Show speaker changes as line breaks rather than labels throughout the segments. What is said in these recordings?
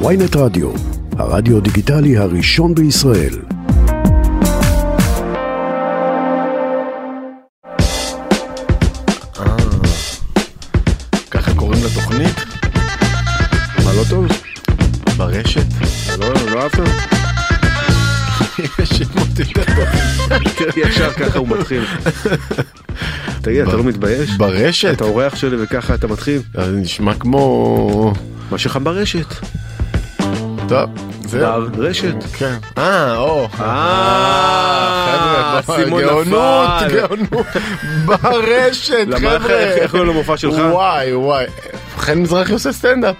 ויינט רדיו, הרדיו דיגיטלי הראשון בישראל.
אה, ככה קוראים לתוכנית?
מה לא טוב?
ברשת?
לא, לא אהבת?
יש שמות יותר טובים.
ישר ככה הוא מתחיל. תגיד, אתה לא מתבייש?
ברשת?
אתה אורח שלי וככה אתה מתחיל?
אה, זה נשמע כמו...
מה שלך ברשת.
טוב, זהו.
ברשת.
כן. אה, או.
אה, לא,
חבר'ה,
האסימון
גאונות,
אה, נפל.
גאונות, ברשת,
למה, איך-
חבר'ה.
איך איך קוראים למופע שלך?
וואי, וואי. חן מזרחי עושה סטנדאפ.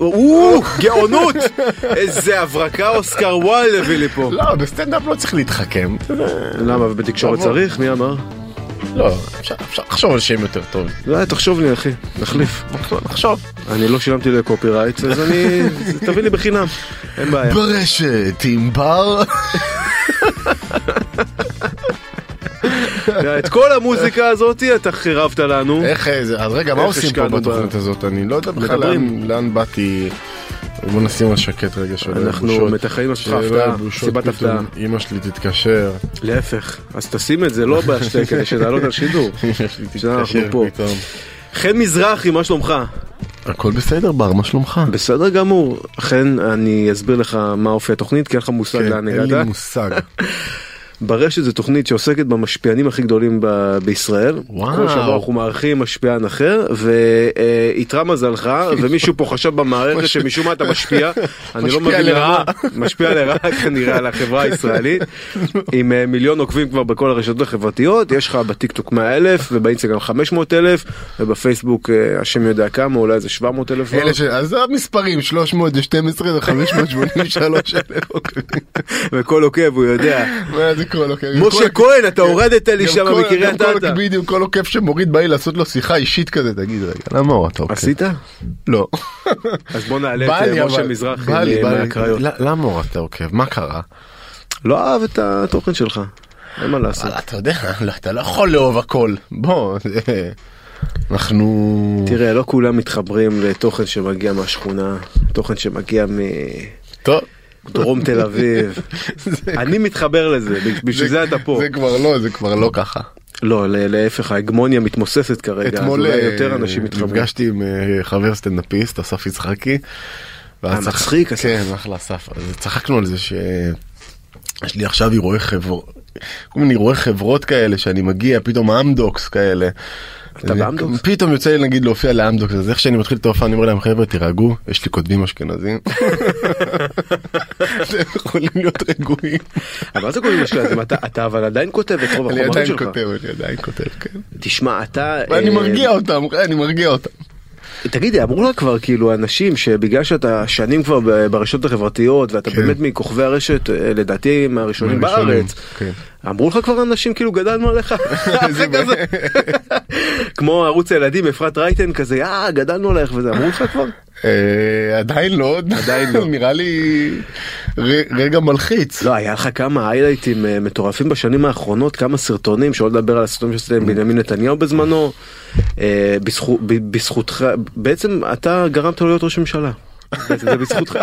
או, גאונות! איזה הברקה אוסקר וואלד הביא לי פה.
לא, בסטנדאפ לא צריך להתחכם.
למה, בתקשורת
תבוא.
צריך? מי אמר?
לא, אפשר אפשר לחשוב על שם יותר טוב.
לא, תחשוב לי, אחי, נחליף.
נחשוב.
אני לא שילמתי לקופי רייט, אז אני... תביא לי בחינם, אין בעיה.
ברשת, עם בר.
את כל המוזיקה הזאת אתה חירבת לנו.
איך אה, זה, אז רגע, מה
איך
עושים פה
השקענו
בתוכנית הזאת? אני לא יודע בכלל
מדברים.
לאן- לאן באתי. בוא נשים על שקט רגע שלא יהיו
אנחנו
בושות.
מתכננים לעשות לך
שלא יהיו
הפתעה,
בושות
סיבת
פתאום.
הפתעה.
אמא שלי תתקשר.
להפך, אז תשים את זה לא בהשתה כדי שנעלות על שידור.
אמא שלי
שאנחנו
תתקשר
פה.
פתאום.
חן מזרחי, מה שלומך?
הכל בסדר בר, מה שלומך?
בסדר גמור. חן, אני אסביר לך מה אופי התוכנית, כי אין לך מושג
כן,
לאן
אין לי
הגעת.
מושג.
ברשת זו תוכנית שעוסקת במשפיענים הכי גדולים ב- בישראל.
וואו.
כל שבוע אנחנו מארחים משפיען אחר, ואיתרע מזלך, ומישהו פה חשב במערכת
משפיע-
שמשום מה אתה משפיע, אני לא
משפיע
מבין
לרעה.
לרעה, משפיע לרעה כנראה על החברה הישראלית, עם אה, מיליון עוקבים כבר בכל הרשתות החברתיות, יש לך בטיקטוק 100 אלף, ובאינסטגרם 500 אלף, ובפייסבוק אה, השם יודע כמה, אולי איזה 700 אלף. לא?
אלה ש... אז זה המספרים 312 ו-583 אלף עוקבים.
וכל עוקב הוא יודע.
מה זה כל עוקב?
משה
כל-
כהן, אתה הורדת לי
גם
שם
כל-
מקריית
גם כל-
אתא.
בדיוק, כל עוקב שמוריד בא לי לעשות לו שיחה אישית כזה, תגיד רגע, למה הורדת עוקב?
עשית?
לא.
אז בוא נעלה
בא
את
לי
אה, משה
אבל,
מזרחי
בא לי,
מ-
בא לי.
מהקריות.
ל- למה הורדת עוקב? מה קרה?
לא אהב את התוכן שלך, אין מה לעשות.
אבל אתה יודע, לא, אתה לא יכול לאהוב הכל. בוא, זה- אנחנו...
תראה, לא כולם מתחברים לתוכן שמגיע מהשכונה, תוכן שמגיע מדרום
טוב.
תל אביב. אני מתחבר לזה, בשביל זה אתה פה.
זה כבר לא, זה כבר לא ככה.
לא, ל- להפך, ההגמוניה מתמוססת כרגע, אז אולי
אה,
יותר אנשים מתחברים.
נפגשתי עם אה, חבר סטנדאפיסט, אסף יצחקי. ואז
אה,
צח-
מצחיק, אסף.
כן, אחלה אסף. אז צחקנו על זה ש... יש לי עכשיו אירועי חברות, כל מיני אירועי חברות כאלה שאני מגיע, פתאום אמדוקס כאלה.
אתה
אני-
באמדוקס?
פתאום יוצא לי נגיד להופיע לאמדוקס, אז איך שאני מתחיל את ההופעה אני אומר להם חבר'ה תירגעו, יש לי כותבים אשכנזים. אתם יכולים להיות רגועים.
אבל מה זה קוראים לשלטים? אתה אבל עדיין כותב את רוב
אני
החומרים
עדיין
שלך. אה,
כותב, אני עדיין כותב, כן.
תשמע, אתה...
ואני
אה,
מרגיע אותם, כן, אני מרגיע אותם.
תגידי, אמרו לה כבר כאילו אנשים שבגלל שאתה שנים כבר ב- ברשתות החברתיות ואתה
כן.
באמת מכוכבי הרשת, אה, לדעתי מהראשונים
מהראשונים,
בארץ,
כן.
אמרו לך כבר אנשים כאילו גדלנו עליך, אחרי כזה. כמו ערוץ הילדים אפרת רייטן כזה, אה גדלנו עלייך וזה, אמרו לך כבר?
אה, עדיין לא,
עדיין לא.
נראה לי ר- רגע מלחיץ.
לא, היה לך כמה היילייטים אה, מטורפים בשנים האחרונות, כמה סרטונים, שלא לדבר על הסרטונים שעשית
Mm.
עם בנימין נתניהו בזמנו, אה, בזכו- ב- בזכותך, בעצם אתה גרמת לו להיות ראש ממשלה. בעצם זה בזכותך.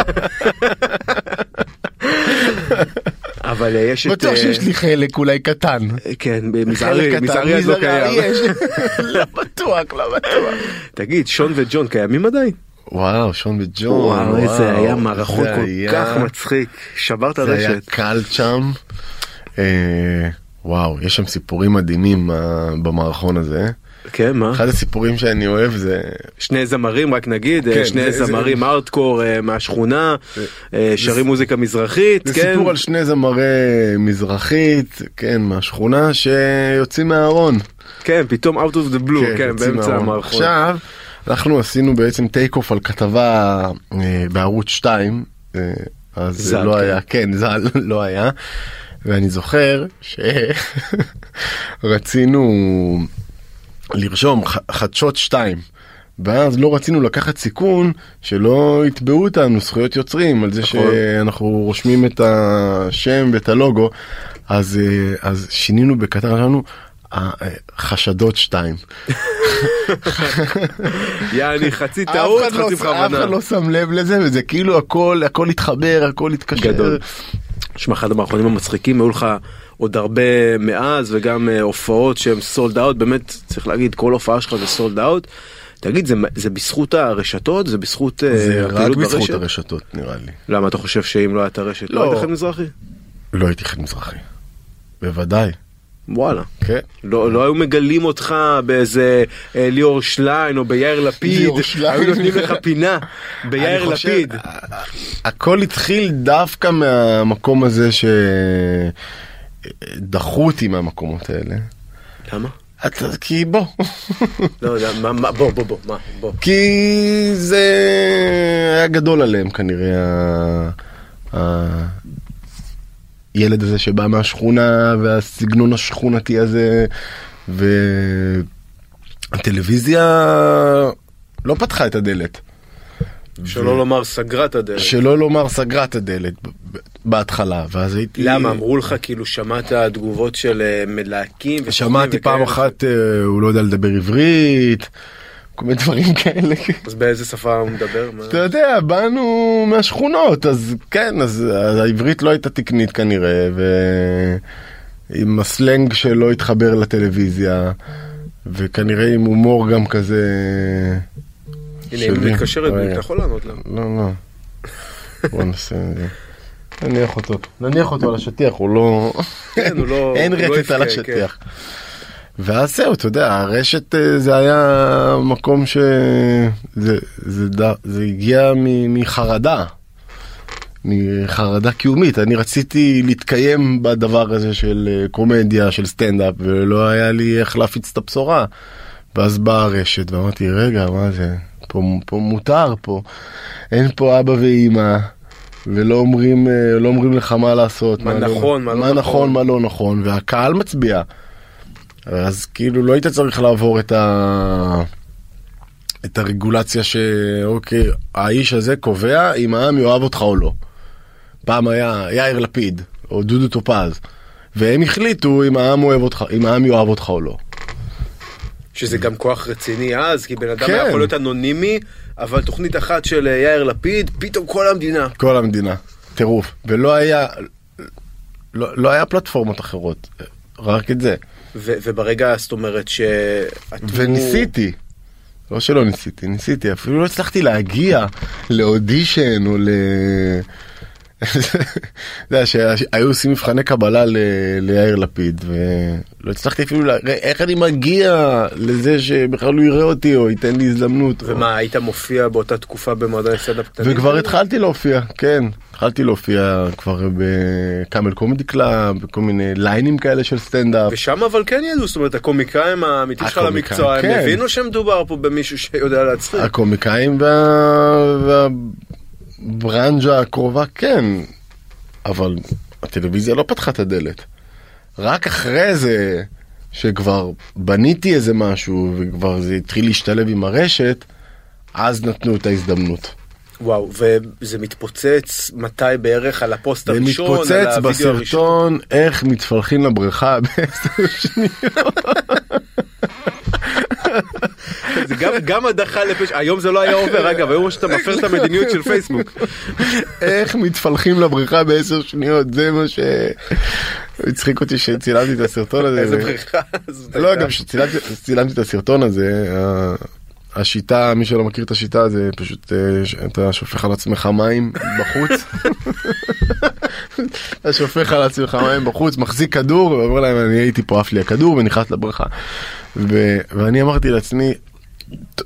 אבל אה, יש את...
בטוח
אה,
שיש לי חלק אולי קטן.
כן, ב- מזערי,
חלק קטן,
מזערי אז לא קיים.
יש. לא בטוח, לא בטוח.
תגיד, שון וג'ון קיימים עדיין?
וואו, שון וג'ון.
וואו, איזה היה מערכון
זה
כל
היה-
כך מצחיק, שברת
זה היה
רשת.
קל שם. אה, וואו, יש שם סיפורים מדהימים אה, במערכון הזה.
כן, מה?
אחד הסיפורים שאני אוהב זה
שני זמרים רק נגיד
כן,
אה, שני
זה- זה-
זמרים ארדקור אה, מהשכונה
זה-
אה, שרים מוזיקה מזרחית
זה
כן
סיפור על שני זמרי מזרחית, כן, מהשכונה שיוצאים מהארון.
כן פתאום out of the blue כן
יוצאים
באמצע
מהארון.
המערכון
עכשיו, אנחנו עשינו בעצם טייק אוף על כתבה אה, בערוץ 2, אה, אז זה
ז"ל,
לא
כן.
היה, כן, ז"ל לא היה, ואני זוכר שרצינו לרשום ח- חדשות 2. ואז לא רצינו לקחת סיכון שלא יתבעו אותנו זכויות יוצרים על זה
נכון.
שאנחנו רושמים את השם ואת הלוגו אז אה, אז שינינו בקטן אמרנו ה- חשדות שתיים.
יעני חצי
אף
טעות
אחד לא-
חצי
אף אחד
בכוונה.
לא שם לב לזה וזה כאילו הכל הכל התחבר הכל התקשר.
גדול. שמע אחד המערכונים המצחיקים היו לך עוד הרבה מאז וגם אה, הופעות שהם סולד אאוט באמת צריך להגיד כל הופעה שלך זה סולד אאוט. תגיד זה, זה בזכות הרשתות זה בזכות אה,
זה רק
הפעילות
בזכות
ברשת?
הרשתות נראה לי.
למה אתה חושב שאם לא הייתה רשת לא,
לא.
היית חן מזרחי?
לא הייתי חן מזרחי. בוודאי.
וואלה.
כן.
לא, לא היו מגלים אותך באיזה אה, ליאור שליין או ביאיר לפיד,
ליאור שליין.
היו נותנים לך פינה ביאיר
אני חושב- אה,
לפיד.
הכל התחיל דווקא מהמקום הזה שדחו אותי מהמקומות האלה.
למה?
אתה- כי בוא.
לא, יודע, מה, מה, בוא, בוא, בוא, מה, בוא.
כי זה היה גדול עליהם כנראה. ה- ה- ילד הזה שבא מהשכונה והסגנון השכונתי הזה והטלוויזיה לא פתחה את הדלת.
שלא לומר סגרה את הדלת.
שלא לומר סגרה את הדלת ב- ב- בהתחלה ואז הייתי
למה? אמרו לך כאילו שמעת תגובות של אה, מלהקים? וסוכנים
שמעתי פעם
וכאלה?
אחת אה, הוא לא יודע לדבר עברית כל מיני דברים כאלה.
אז באיזה שפה הוא מדבר? מה?
אתה יודע באנו מהשכונות אז כן אז, אז העברית לא הייתה תקנית כנראה ועם הסלנג שלא התחבר לטלוויזיה וכנראה עם הומור גם כזה
הנה, אם
שלי.
מתקשרת,
רגע.
אתה יכול לענות לה.
לא לא. בוא נעשה את זה. נניח אותו נניח אותו על השטיח הוא לא
כן, הוא לא...
אין
הוא לא
רטט על
יבכה, כן.
השטיח. ואז זהו, אתה יודע, הרשת אה, זה היה מקום ש... זה, זה, ד- זה הגיע מ, מחרדה, מחרדה קיומית. אני רציתי להתקיים בדבר הזה של אה, קומדיה, של סטנדאפ, ולא היה לי איך להפיץ את הבשורה. ואז באה הרשת ואמרתי, רגע, מה זה? פה, פה מותר, פה. אין פה אבא ואימא. ולא אומרים, אה, לא אומרים לך מה לעשות,
מה נכון, מה לא
מה
נכון.
נכון, מה לא נכון, והקהל מצביע. אז כאילו לא היית צריך לעבור את ה... את הרגולציה שאוקיי, האיש הזה קובע אם העם יאהב אותך או לא. פעם היה יאיר לפיד או דודו טופז, והם החליטו אם העם אוהב אותך, אם העם יאהב אותך או לא.
שזה גם כוח רציני אז, כי בן אדם
כן.
היה יכול להיות אנונימי, אבל תוכנית אחת של אה, יאיר לפיד, פתאום כל המדינה.
כל המדינה, טירוף. ולא היה, לא, לא היה פלטפורמות אחרות, רק את זה.
ו- וברגע, זאת אומרת, ש...
וניסיתי. לא שלא ניסיתי, ניסיתי, אפילו לא הצלחתי להגיע לאודישן או ל... אתה יודע, שהיו עושים מבחני קבלה ל... ליאיר לפיד ולא הצלחתי אפילו, לה... איך אני מגיע לזה שבכלל הוא יראה אותי או ייתן לי הזדמנות.
ומה, היית מופיע באותה תקופה במועדון סטנדאפ קטנים?
וכבר התחלתי להופיע, כן, התחלתי להופיע כבר בקאמל קומדי קלאב, בכל מיני ליינים כאלה של סטנדאפ.
ושם אבל כן ידעו, זאת אומרת, הקומיקאים האמיתיים שלך
הקומיקאים,
למקצוע, הם
כן.
הבינו שמדובר פה במישהו שיודע להצחיק.
הקומיקאים וה... והברנז'ה הקרובה כן, אבל הטלוויזיה לא פתחה את הדלת. רק אחרי זה, שכבר בניתי איזה משהו וכבר זה התחיל להשתלב עם הרשת, אז נתנו את ההזדמנות.
וואו, וזה מתפוצץ מתי בערך על הפוסט
זה
הראשון, על
מתפוצץ
הווידאו הראשון.
בסרטון איך מתפלחים לבריכה בעשר שניות.
זה גם- גם הדחה לפשע, היום זה לא היה עובר, אגב, היום שאתה מפר את המדיניות של פייסבוק.
איך מתפלחים לבריכה בעשר שניות, זה מה ש... הצחיק אותי שצילמתי את הסרטון הזה.
איזה
ו-
בריכה. זאת
לא,
הייתה.
גם כשצילמתי את הסרטון הזה, ה- השיטה, מי שלא מכיר את השיטה, זה פשוט, אה, ש- אתה שופך על עצמך מים בחוץ. אתה שופך על עצמך מים בחוץ, מחזיק כדור, ואומר להם, אני הייתי פה, עף לי הכדור, ונכנס לבריכה. ו- ואני אמרתי לעצמי, "ט-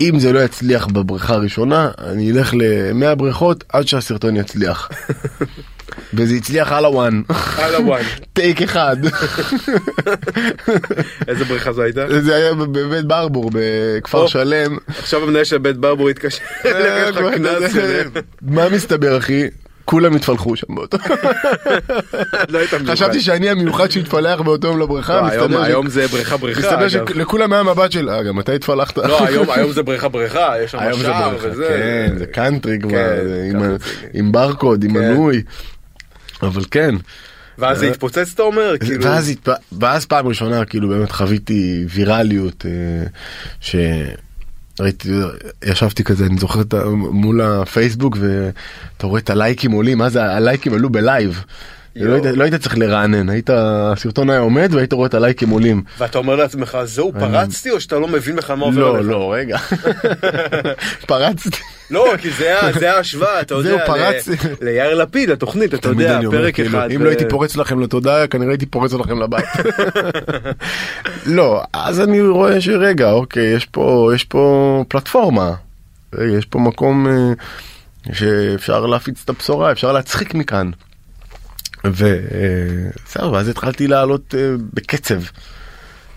אם זה לא יצליח בבריכה הראשונה, אני אלך ל-100 בריכות עד שהסרטון יצליח. וזה הצליח על הוואן,
על הוואן.
טייק אחד.
איזה בריכה זו הייתה?
זה היה בבית ברבור בכפר
או.
שלם.
עכשיו המנהל של בית ברבור התקשר
אה,
לקח לך קנס שלהם.
מה מסתבר אחי? כולם התפלחו שם באותו.
לא היית מיוחד.
חשבתי שאני המיוחד שהתפלח באותו יום לבריכה,
לא, היום-
מסתבר ש-
היום זה בריכה בריכה.
מסתבר
אגב.
שלכולם היה מבט של, אה גם אתה התפלחת?
לא, היום- היום זה בריכה בריכה, יש שם
היום זה
שער
בריכה,
וזה.
כן, זה קאנטרי כבר,
כן,
זה
ככה
עם ה-
זה.
עם ברקוד, עם
כן.
מנוי. אבל כן,
ואז זה התפוצץ אתה אומר? כאילו...
ואז, התפ... ואז פעם ראשונה כאילו באמת חוויתי ויראליות אה, ש... ראיתי, ישבתי כזה, אני זוכר את ה- מול הפייסבוק ואתה רואה את הלייקים עולים, מה זה הלייקים עלו בלייב.
יואו.
לא היית, לא היית צריך לרענן, היית, הסרטון היה עומד והיית רואה את הלייקים עולים.
ואתה אומר לעצמך זהו פרצתי או שאתה לא מבין בכלל מה עובר
לא,
עליך?
לא, רגע. פרצתי.
לא, כי זה ה- זה ההשוואה, אתה יודע,
זהו,
ל-
פרצתי.
ליאיר לפיד, התוכנית, אתה
תמיד
יודע,
אני אומר,
פרק
כאילו,
אחד.
אם
אה,
לא הייתי פורץ לכם לתודעה, כנראה הייתי פורץ לכם לבית. לא, אז אני רואה שרגע, אוקיי, יש פה, יש פה פלטפורמה. רגע, יש פה מקום אה, שאפשר להפיץ את הבשורה, אפשר להצחיק מכאן. וזהו, ואז התחלתי לעלות אה, בקצב.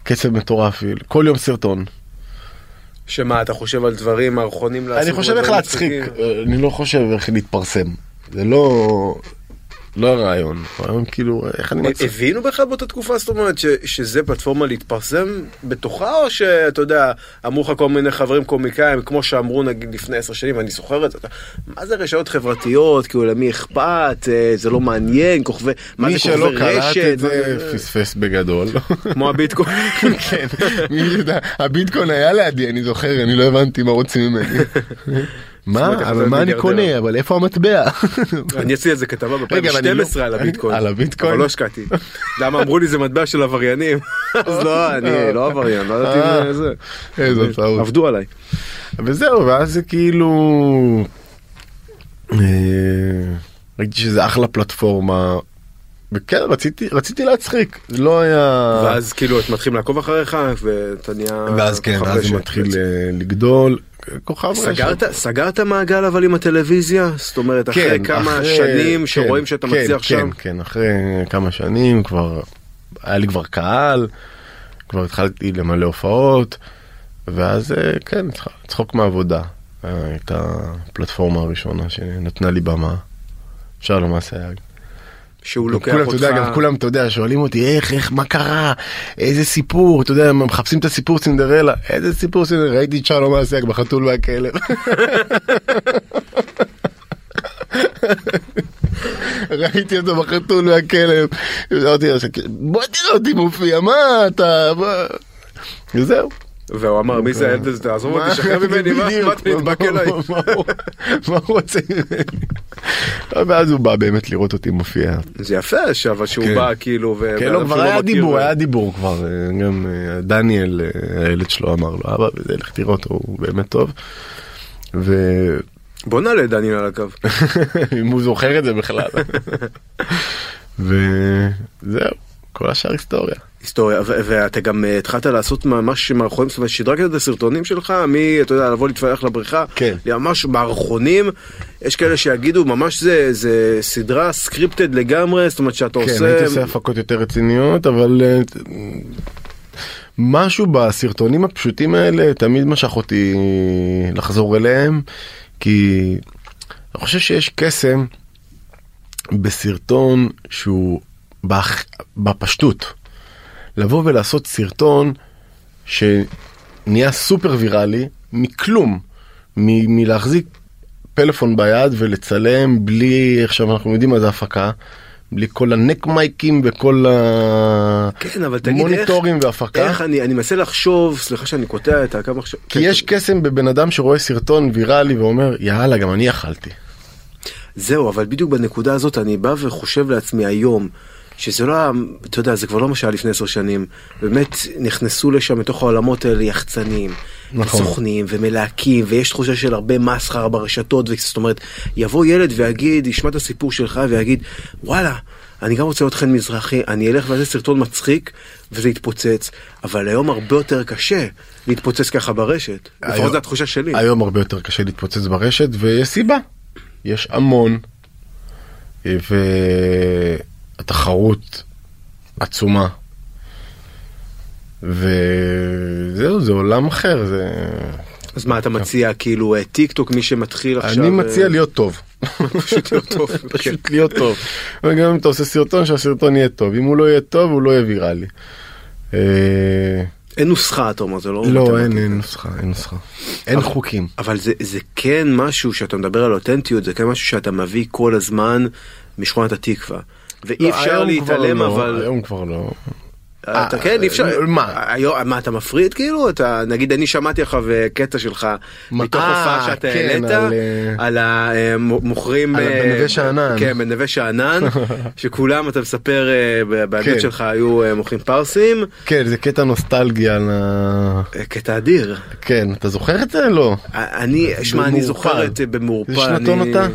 קצב מטורף, כל יום סרטון.
שמה, אתה חושב על דברים, מערכונים לעשות?
אני חושב איך
דברים
להצחיק,
מצחיקים?
אני לא חושב איך להתפרסם. זה לא... לא הרעיון, הרעיון כאילו, איך
אה,
אני מצחיק.
הבינו בכלל באותה תקופה, זאת אומרת, ש- שזה פלטפורמה להתפרסם בתוכה, או שאתה יודע, אמרו לך כל מיני חברים קומיקאים, כמו שאמרו נגיד לפני עשר שנים, אני זוכר את זה, אתה- מה זה רשתות חברתיות, כאילו למי אכפת, אה, זה לא מעניין, כוכבי, מה זה
מי שלא
כוכבי
קלט
רשת, אה,
את זה פספס בגדול.
כמו הביטקוין.
כן, מי יודע, הביטקוין היה לידי, אני זוכר, אני לא הבנתי מה רוצים ממני.
זאת אומרת,
מה, אבל
אתה
מה אני
מיליארדר.
קונה, אבל איפה המטבע?
אני עשיתי על זה כתבה
רגע, אבל אני
ב-2012
לא-
על הביטקוין.
על הביטקוין?
אבל לא השקעתי. למה אמרו לי זה מטבע של עבריינים? אז לא, אני לא עבריין, לא ידעתי
אה,
זה.
איזו טעות.
עבדו עליי.
וזהו, ואז זה כאילו... אה, ראיתי שזה אחלה פלטפורמה. וכן, רציתי, רציתי להצחיק, זה לא היה...
ואז כאילו את מתחילים לעקוב אחריך ואתה נהיה...
ואז כן,
כוכב
אז
רשת
זה מתחיל
בעצם.
אה, לגדול. כוכב רשת.
סגרת, סגרת מעגל אבל עם הטלוויזיה? זאת אומרת, אחרי כמה
כן, אחרי-
שנים
כן,
שרואים שאתה
כן,
מצליח שם?
כן, כן, אחרי כמה שנים כבר, היה לי כבר קהל, כבר התחלתי למלא הופעות, ואז אה, כן, צח- צחוק מעבודה. אה, הייתה הפלטפורמה הראשונה שנתנה לי במה. אפשר למעשה היה
שהוא לוקח
לא, כולם, אתה
אותך...
יודע, גם כולם, אתה יודע, שואלים אותי, איך, איך, מה קרה, איזה סיפור, אתה יודע, הם מחפשים את הסיפור סינדרלה, איזה סיפור סינדרלה, ראיתי את שלום אסייג בחתול והכלב. ראיתי אותו בחתול והכלב, אמרתי לו, בוא תראה אותי מופיע, מה אתה, מה?" וזהו.
והוא אמר, מי זה הילד הזה? תעזוב
מה-
אותי, שחרר ממני, מה מה אתה
בדיוק,
נדבק
מה-
אליי?
מה- מה הוא רוצה ממני? ואז הוא בא באמת לראות אותי מופיע,
זה יפה, ש- אבל שהוא
כן.
בא כאילו... ו-
כן,
ואתה
לא, כבר
אפילו
היה
מכיר.
דיבור, היה דיבור כבר, אה, גם אה, דניאל, אה, הילד שלו אמר לו, אבא, וזה, לך תראה אותו, הוא באמת טוב. ואם
בוא נעלה את דניאל על הקו.
הוא זוכר את זה בכלל. וזהו, כל השאר היסטוריה.
היסטוריה, ו- ואתה גם אה, התחלת לעשות ממש מערכונים, זאת אומרת שדרגת את הסרטונים שלך, מ... אתה יודע, לבוא להתפלח לבריכה,
כן.
ממש מערכונים, יש כאלה שיגידו, ממש זה, זה סדרה סקריפטד לגמרי, זאת אומרת שאתה
כן,
עושה...
הייתי עושה הפקות יותר רציניות, אבל אה, משהו בסרטונים הפשוטים האלה תמיד משך אותי לחזור אליהם, כי אני חושב שיש קסם בסרטון שהוא באח- בפשטות. לבוא ולעשות סרטון שנהיה סופר ויראלי מכלום, מ- מלהחזיק פלאפון ביד ולצלם בלי, עכשיו אנחנו יודעים מה זה הפקה, בלי כל הנק מייקים וכל
כן, אבל תגיד איך...
המוניטורים והפקה.
איך אני, אני מנסה לחשוב, סליחה שאני קוטע את הקו עכשיו.
כי יש קסם בבן אדם שרואה סרטון ויראלי ואומר יאללה גם אני אכלתי.
זהו, אבל בדיוק בנקודה הזאת אני בא וחושב לעצמי היום, שזה לא, ה- אתה יודע, זה כבר לא מה שהיה לפני עשר שנים. באמת נכנסו לשם מתוך העולמות האלה יחצנים,
נכון.
סוכנים ומלהקים, ויש תחושה של הרבה מסחרה ברשתות, זאת אומרת, יבוא ילד ויגיד, ישמע את הסיפור שלך ויגיד, וואלה. אני גם רוצה להיות חן מזרחי, אני אלך ואעשה סרטון מצחיק וזה יתפוצץ, אבל היום הרבה יותר קשה להתפוצץ ככה ברשת. לפחות
היום-
זו התחושה שלי.
היום הרבה יותר קשה להתפוצץ ברשת ויש סיבה. יש המון. והתחרות עצומה. וזהו זה עולם אחר זה
אז מה אתה מציע כאילו אה, טיק טוק מי שמתחיל עכשיו
כן. אני
אה,
מציע להיות טוב
פשוט להיות טוב כן.
פשוט להיות טוב וגם אם אתה עושה סרטון שהסרטון יהיה טוב אם הוא לא יהיה טוב הוא לא יהיה ויראלי. אה,
אין נוסחה אתה אומר זה לא
לא אין
מתמטיקה.
אין נוסחה אין נוסחה אין חוקים
אבל זה זה כן משהו שאתה מדבר על אותנטיות זה כן משהו שאתה מביא כל הזמן משכונת התקווה ואי אפשר
היום כבר
להתעלם
לא,
אבל
היום כבר לא.
אתה
אה,
כן אי אפשר
מה?
היום מה אתה מפריד כאילו אתה נגיד אני שמעתי לך וקטע שלך
מה?
מתוך
אה,
הופעה שאתה
כן,
העלית
על, אה,
על המוכרים
על בנווה שאנן.
אה, כן בנווה שאנן שכולם אתה מספר אה, ב- בעדות
כן.
שלך היו אה, מוכרים פרסים
כן, זה קטע נוסטלגי על ה...
אה, קטע אדיר
כן, אתה זוכר את זה? לא.
אני שמע אני
במעורפל.
זוכר את זה במעורפל
איזה שנתון
אני-
אתה?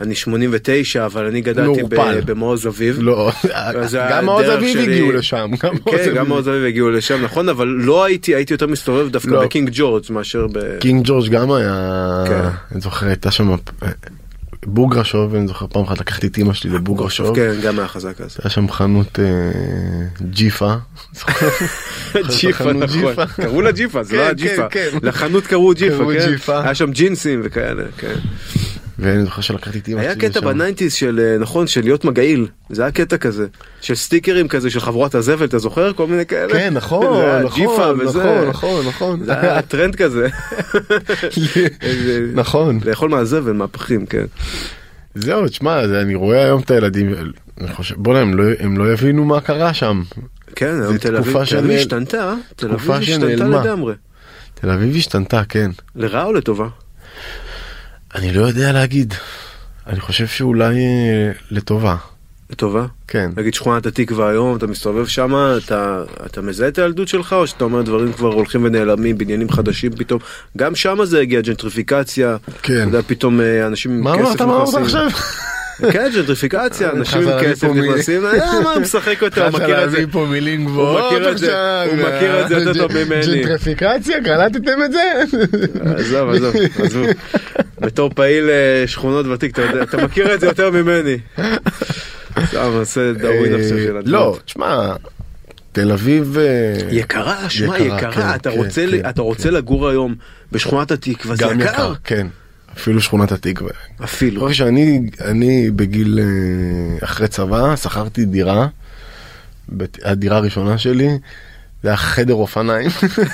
אני 89 אבל אני גדלתי ב-
מעורפל.
במעוז אביב
לא.
אז
גם מעוז
הדרך
אביב
שלי-
הגיעו לשם. גם מעוז
כן,
אביב.
גם מעוז אביב הגיעו לשם, נכון, אבל לא הייתי, הייתי יותר מסתובב דווקא
לא.
בקינג ג'ורג' מאשר ב...
קינג ג'ורג' גם היה...
כן.
אני זוכר, הייתה שם... בוגרשוב, אני זוכר פעם אחת לקחתי את אמא שלי לבוגרשוב.
כן, גם היה חזק אז.
היה שם חנות אה, ג'יפה.
ג'יפה,
חנות
נכון.
ג'יפה.
קראו לה ג'יפה, זה לא
כן,
היה ג'יפה.
כן, כן.
לחנות קראו ג'יפה,
קראו
כן.
ג'יפה.
היה שם ג'ינסים וכאלה, כן.
ואני זוכר שלקחתי את אמא שלי
היה
לשם.
קטע בניינטיז של, אה, נכון, של להיות מגעיל. זה היה קטע כזה. של סטיקרים כזה של חבורת הזבל, אתה זוכר? כל מיני כאלה.
כן, נכון,
זה היה ג'יפה
נכון,
וזה.
נכון, נכון, נכון.
זה היה טרנד כזה. איזה-
נכון.
לאכול מהזבל, מהפכים, כן.
זהו, תשמע, זה- אני רואה היום את הילדים, אני חושב, בוא'נה, הם לא- הם לא יבינו מה קרה שם.
כן, היום תל
תקופה
אביב תל אביב
שנעל-
השתנתה, תל אביב
תקופה
השתנתה
שנעלמה.
לגמרי.
תל אביב השתנתה, כן.
לרעה או לטובה?
אני לא יודע להגיד. אני חושב שאולי אה, לטובה.
לטובה.
כן.
נגיד שכונת התקווה היום, אתה מסתובב שם, אתה, אתה מזהה את הילדות שלך, או שאתה אומר דברים כבר הולכים ונעלמים, בניינים חדשים פתאום. גם שם זה הגיע, ג'נטריפיקציה.
כן.
אתה יודע, פתאום אה, אנשים עם
מה
כסף
אמרת, מה אמרת עכשיו?
כן, ג'נטריפיקציה,
אני
אנשים
חזר
עם
לי
כסף
פה מ-
נכנסים, אה, מה, הוא משחק אותה, הוא
התחלת
מכיר את זה.
להביא פה מילים
הוא
גבוהות
מכיר את זה,
עכשיו.
הוא מכיר את זה יותר טוב ממני.
ג'נטריפיקציה, קלטתם את זה?
עזוב, עזוב, עזוב. בתור פעיל אה, שכונות ותיק, אתה יודע, אתה מכיר את זה יותר ממני. סתם, עושה דאווין עכשיו של
אה,
הדמות.
לא, תשמע, תל אביב... אה,
יקרה, שמע,
יקרה,
יקרה,
כן,
אתה
כן,
רוצה ל-
כן,
אתה רוצה לגור היום בשכונת התקווה, זה
גם
יקר.
יקר, כן. אפילו שכונת התקווה.
אפילו.
לא שאני אני בגיל אה, אחרי צבא שכרתי דירה, בת- הדירה הראשונה שלי. זה היה חדר אופניים,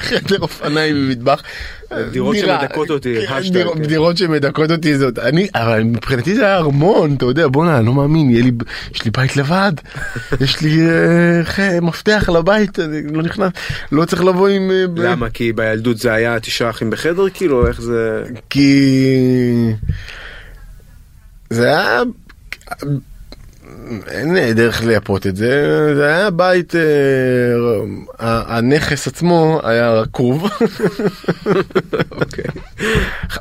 חדר אופניים ומטבח.
דירות
דירה.
שמדכאות אותי,
כן,
השטג,
דירות-
כן.
דירות שמדכאות אותי זאת, אני, אבל מבחינתי זה היה ארמון, אתה יודע, בואנה, אני לא מאמין, יהיה לי, יש לי בית לבד, יש לי אה, ח- מפתח לבית, אני לא נכנס, לא צריך לבוא עם... אה, ב-
למה? כי בילדות זה היה תשעה אחים בחדר, כאילו, איך זה...
כי זה היה אין דרך לייפות את זה זה היה בית אה, ה- הנכס עצמו היה רקוב
אוקיי.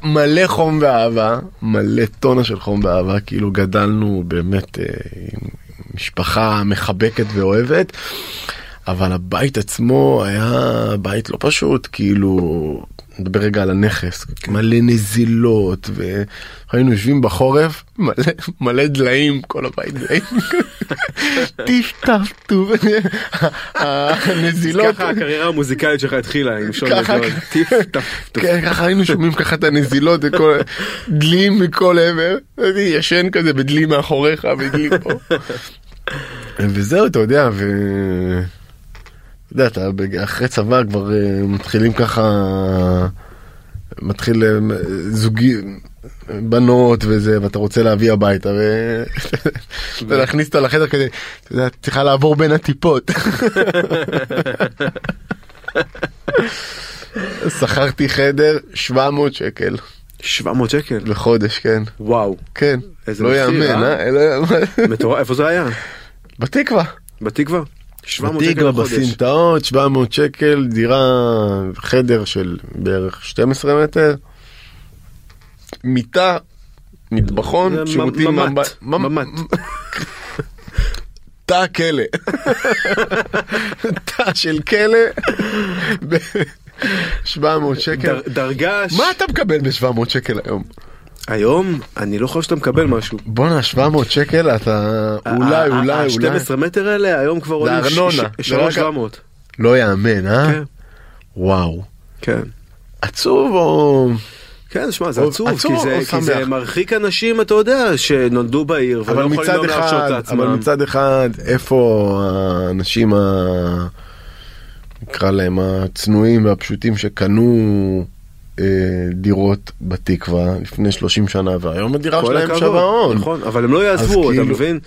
מלא חום ואהבה מלא טונה של חום ואהבה כאילו גדלנו באמת אה, עם משפחה מחבקת ואוהבת. אבל הבית עצמו היה בית לא פשוט כאילו נדבר רגע על הנכס מלא נזילות והיינו יושבים בחורף מלא מלא דליים כל הבית דליים טיפטפטו הנזילות.
ככה הקריירה המוזיקלית שלך התחילה, עם שון
ככה-
לגון. טיף, טף, טוף.
כן, ככה היינו שומעים ככה את הנזילות וכל דלים מכל עבר אני ישן כזה בדלי מאחוריך ודלי פה. וזהו אתה יודע ו... אתה יודע, אתה בג- אחרי צבא כבר אה, מתחילים ככה מתחיל אה, זוגי בנות וזה ואתה רוצה להביא הביתה ולהכניס אותה לחדר כדי אתה יודע, צריכה לעבור בין הטיפות. שכרתי חדר 700 שקל
700 שקל.
לחודש כן
וואו.
כן
איזה
לא
מחיר,
יאמן
אה?
אה? לא יאמן.
מטורף, איפה זה היה?
בתקווה.
בתקווה? 700 שקל
בתקווה
לחודש.
בסמטאות 700 שקל דירה חדר של בערך 12 מטר. מיטה.
זה
מטבחון, שירותים,
ממ-
ממב-
ממ"ט,
ממ-
ממ"ט.
תא כלא. תא של כלא. ב- 700 שקל.
דר- דרגש.
מה אתה מקבל ב-700 שקל היום?
היום אני לא חושב שאתה מקבל משהו.
בואנה 700 שקל אתה
ה-
אה. אולי
ה-
אולי אולי
ה-12 מטר האלה היום כבר
זה
עולים ש-
ארנונה.
ש-
זה רק-
3,700.
לא יאמן אה?
כן,
וואו.
כן.
עצוב או...
כן, שמע, זה
או-
עצוב,
עצוב
כי זה-
או
כי זה
שמח.
מרחיק אנשים, אתה יודע, שנולדו בעיר, ולא
אבל
יכולים
מצד
גם להרשות
אחד, אבל
לעצמם.
מצד אחד, איפה האנשים ה... נקרא להם הצנועים והפשוטים שקנו אה, דירות בתקווה לפני 30 שנה והיום הדירה
כל
שלהם
הכבוד,
שווה הון.
נכון, אבל הם לא יעזבו, אתה
כאילו-
מבין?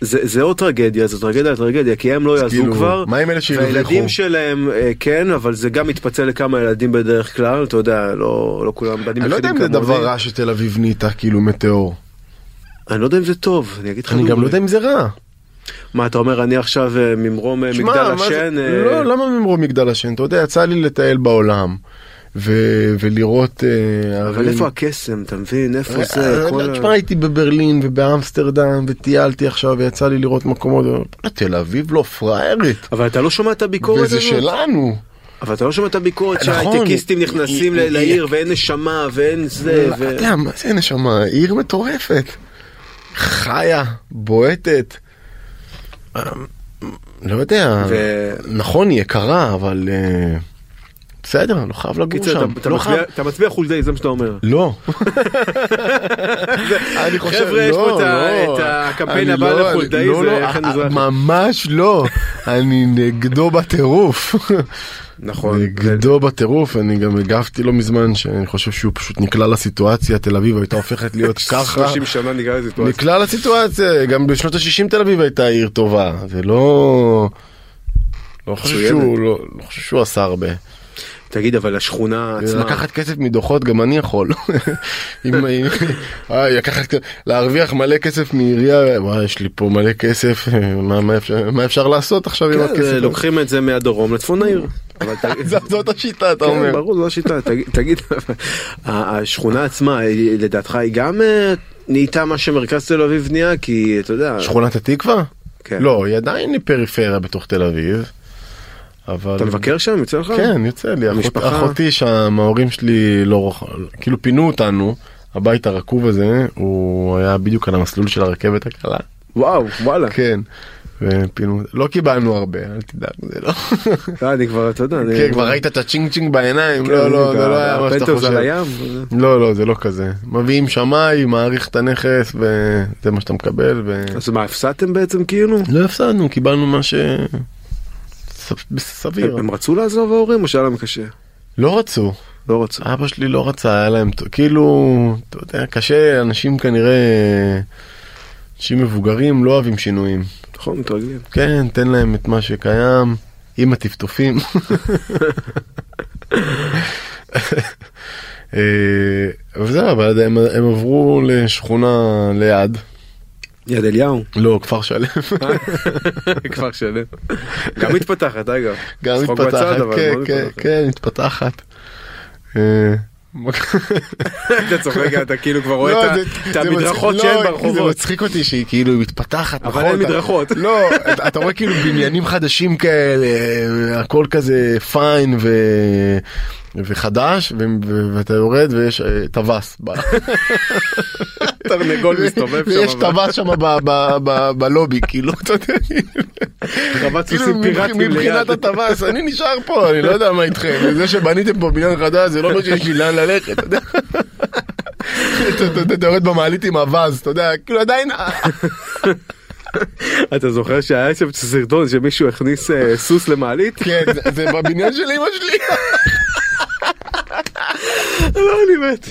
זה זה עוד טרגדיה, זו טרגדיה על טרגדיה, כי הם לא יעזבו
כאילו,
כבר.
מה עם אלה שהרוויחו?
והילדים שלהם אה, כן, אבל זה גם מתפצל לכמה ילדים בדרך כלל, אתה יודע, לא לא כולם בנים
אני לא יודע אם זה
יחידים
דבר
כמוני.
רע שתל אביב נהייתה כאילו מטאור.
אני לא יודע אם זה טוב, אני אגיד לך.
אני גם
דוגרי.
לא יודע אם זה רע.
מה אתה אומר, אני עכשיו אה, ממרום אה,
שמע,
מגדל
מה זה-
השן? אה,
לא, למה ממרום מגדל השן? אתה יודע, יצא לי לטייל בעולם ו- ולראות אה,
אבל
ערים.
איפה הקסם, אתה מבין? איפה זה?
אה,
כל
לא,
ה-
תשמע, הייתי בברלין ובאמסטרדם וטיילתי עכשיו ויצא לי לראות מקומות. אה, תל אביב לא פראיירית.
אבל אתה לא שומע את הביקורת
וזה
הזאת?
שלנו.
אבל אתה לא שומע את הביקורת
נכון.
שהייטקיסטים נכנסים
היא-
ל-
היא- לא,
לעיר ואין נשמה ואין זה.
אתה
ו-
יודע, מה זה נשמה? עיר מטורפת. חיה, בועטת. אה, לא יודע,
ו-
נכון, היא יקרה, אבל אה, בסדר, לא חייב לגור
קיצר,
שם.
אתה- אתה
לא
מצביע-
חייב-
אתה מצביע חולדאי, זה מה שאתה אומר.
לא. אני חושב,
חבר'ה, יש פה
לא,
את ה-
לא.
את הקמפיין
אני
הבא
לא, אני-
לחולדאי,
לא,
זה
לא,
חן
אה,
מזרחי.
ממש לא. אני נגדו בטירוף.
נכון.
נגדו בטירוף, אני גם הגבתי לא מזמן שאני חושב שהוא פשוט נקלע לסיטואציה, תל אביב הייתה הופכת להיות ככה.
30 שנה נגרע לזה.
נקלע לסיטואציה, גם בשנות ה-60 תל אביב הייתה עיר טובה, זה לא... לא חושב
מצוינת.
שהוא, לא, לא חושב שהוא עשה הרבה.
תגיד, אבל השכונה עצמה...
לקחת כסף מדוחות גם אני יכול. אם- אם- אה, לקחת, להרוויח מלא כסף מעירייה, וואי, יש לי פה מלא כסף, אה, מה- מה אפשר- מה אפשר לעשות עכשיו עם
כן,
הכסף? הזה?
לוקחים את זה מהדרום לצפון העיר. אבל תגיד-
ז- זאת השיטה אתה
כן,
אומר.
ברור, זו השיטה. תגיד- תגיד, ה- השכונה עצמה, היא- לדעתך היא גם אה, נהייתה מה שמרכז תל אביב נהיה? כי אתה יודע...
שכונת התקווה?
כן.
לא, היא עדיין פריפריה בתוך תל אביב. אבל...
אתה מבקר שם? יוצא לך?
כן, יוצא לי. אחות-
המשפחה?
אחותי שם, ההורים שלי לא רוח... כאילו פינו אותנו, הבית הרקוב הזה, הוא היה בדיוק על המסלול של הרכבת הקלה.
וואו, וואלה.
כן. ופינו, לא קיבלנו הרבה, אל תדאג, זה לא...
אה, אני כבר, אתה יודע... אני-
כן, כבר ראית את הצ'ינג צ'ינג בעיניים,
כן,
לא, לא,
אני-
זה לא היה מה שאתה
הפנטהאוז על
חושב.
הים.
לא, לא, זה לא כזה. מביאים שמאי, מעריך את הנכס, וזה מה שאתה מקבל, ו...
אז מה, הפסדתם בעצם כאילו?
לא הפסדנו, קיבלנו מה ש... ס- סביר.
הם הם רצו לעזוב ההורים או שהיה להם קשה?
לא רצו.
לא רצו.
אבא שלי לא רצה, היה להם, כאילו, אתה יודע, קשה, אנשים כנראה, אנשים מבוגרים לא אוהבים שינויים.
נכון, מתרגלים.
כן, תן להם את מה שקיים, עם הטפטופים. אה, וזהו, אבל הם, הם עברו לשכונה ליד,
יד אליהו.
לא, כפר שלם,
כפר שלם. גם מתפתחת אגב.
גם
צחוק
מתפתחת,
בצד, אבל
כן,
מאוד
כן,
מתפתחת.
כן, מתפתחת. אה,
אתה צוחק אתה כאילו כבר רואה
לא,
את ה-
זה-
את
זה
המדרכות
מצחיק-
שאין
לא, זה
ברחובות.
מצחיק אותי שהיא כאילו מתפתחת.
אבל
נכון,
אין
אתה-
מדרכות.
לא, אתה- אתה רואה כאילו בניינים חדשים כאלה, הכל כזה פיין ו- וחדש, ו- ו- ואתה יורד ויש אה, טווס. ב-
תרנגול מסתובב שם.
ויש
אבל-
טווס שם ב- ב- ב- בלובי, כאילו, אתה יודע,
חוות
כאילו,
סוסים פיראטיים ליד.
מבחינת הטווס, אני נשאר פה, אני לא יודע מה איתכם, זה שבניתם פה בניין חדש, זה לא אומר שיש לי לאן ללכת, אתה יודע. אתה- אתה- אתה יורד במעלית עם הווז, אתה יודע, כאילו עדיין
אתה זוכר שהיה שם סרטון שמישהו הכניס אה, סוס למעלית?
כן, זה- זה בבניין של אמא שלי,
לא, אני מת.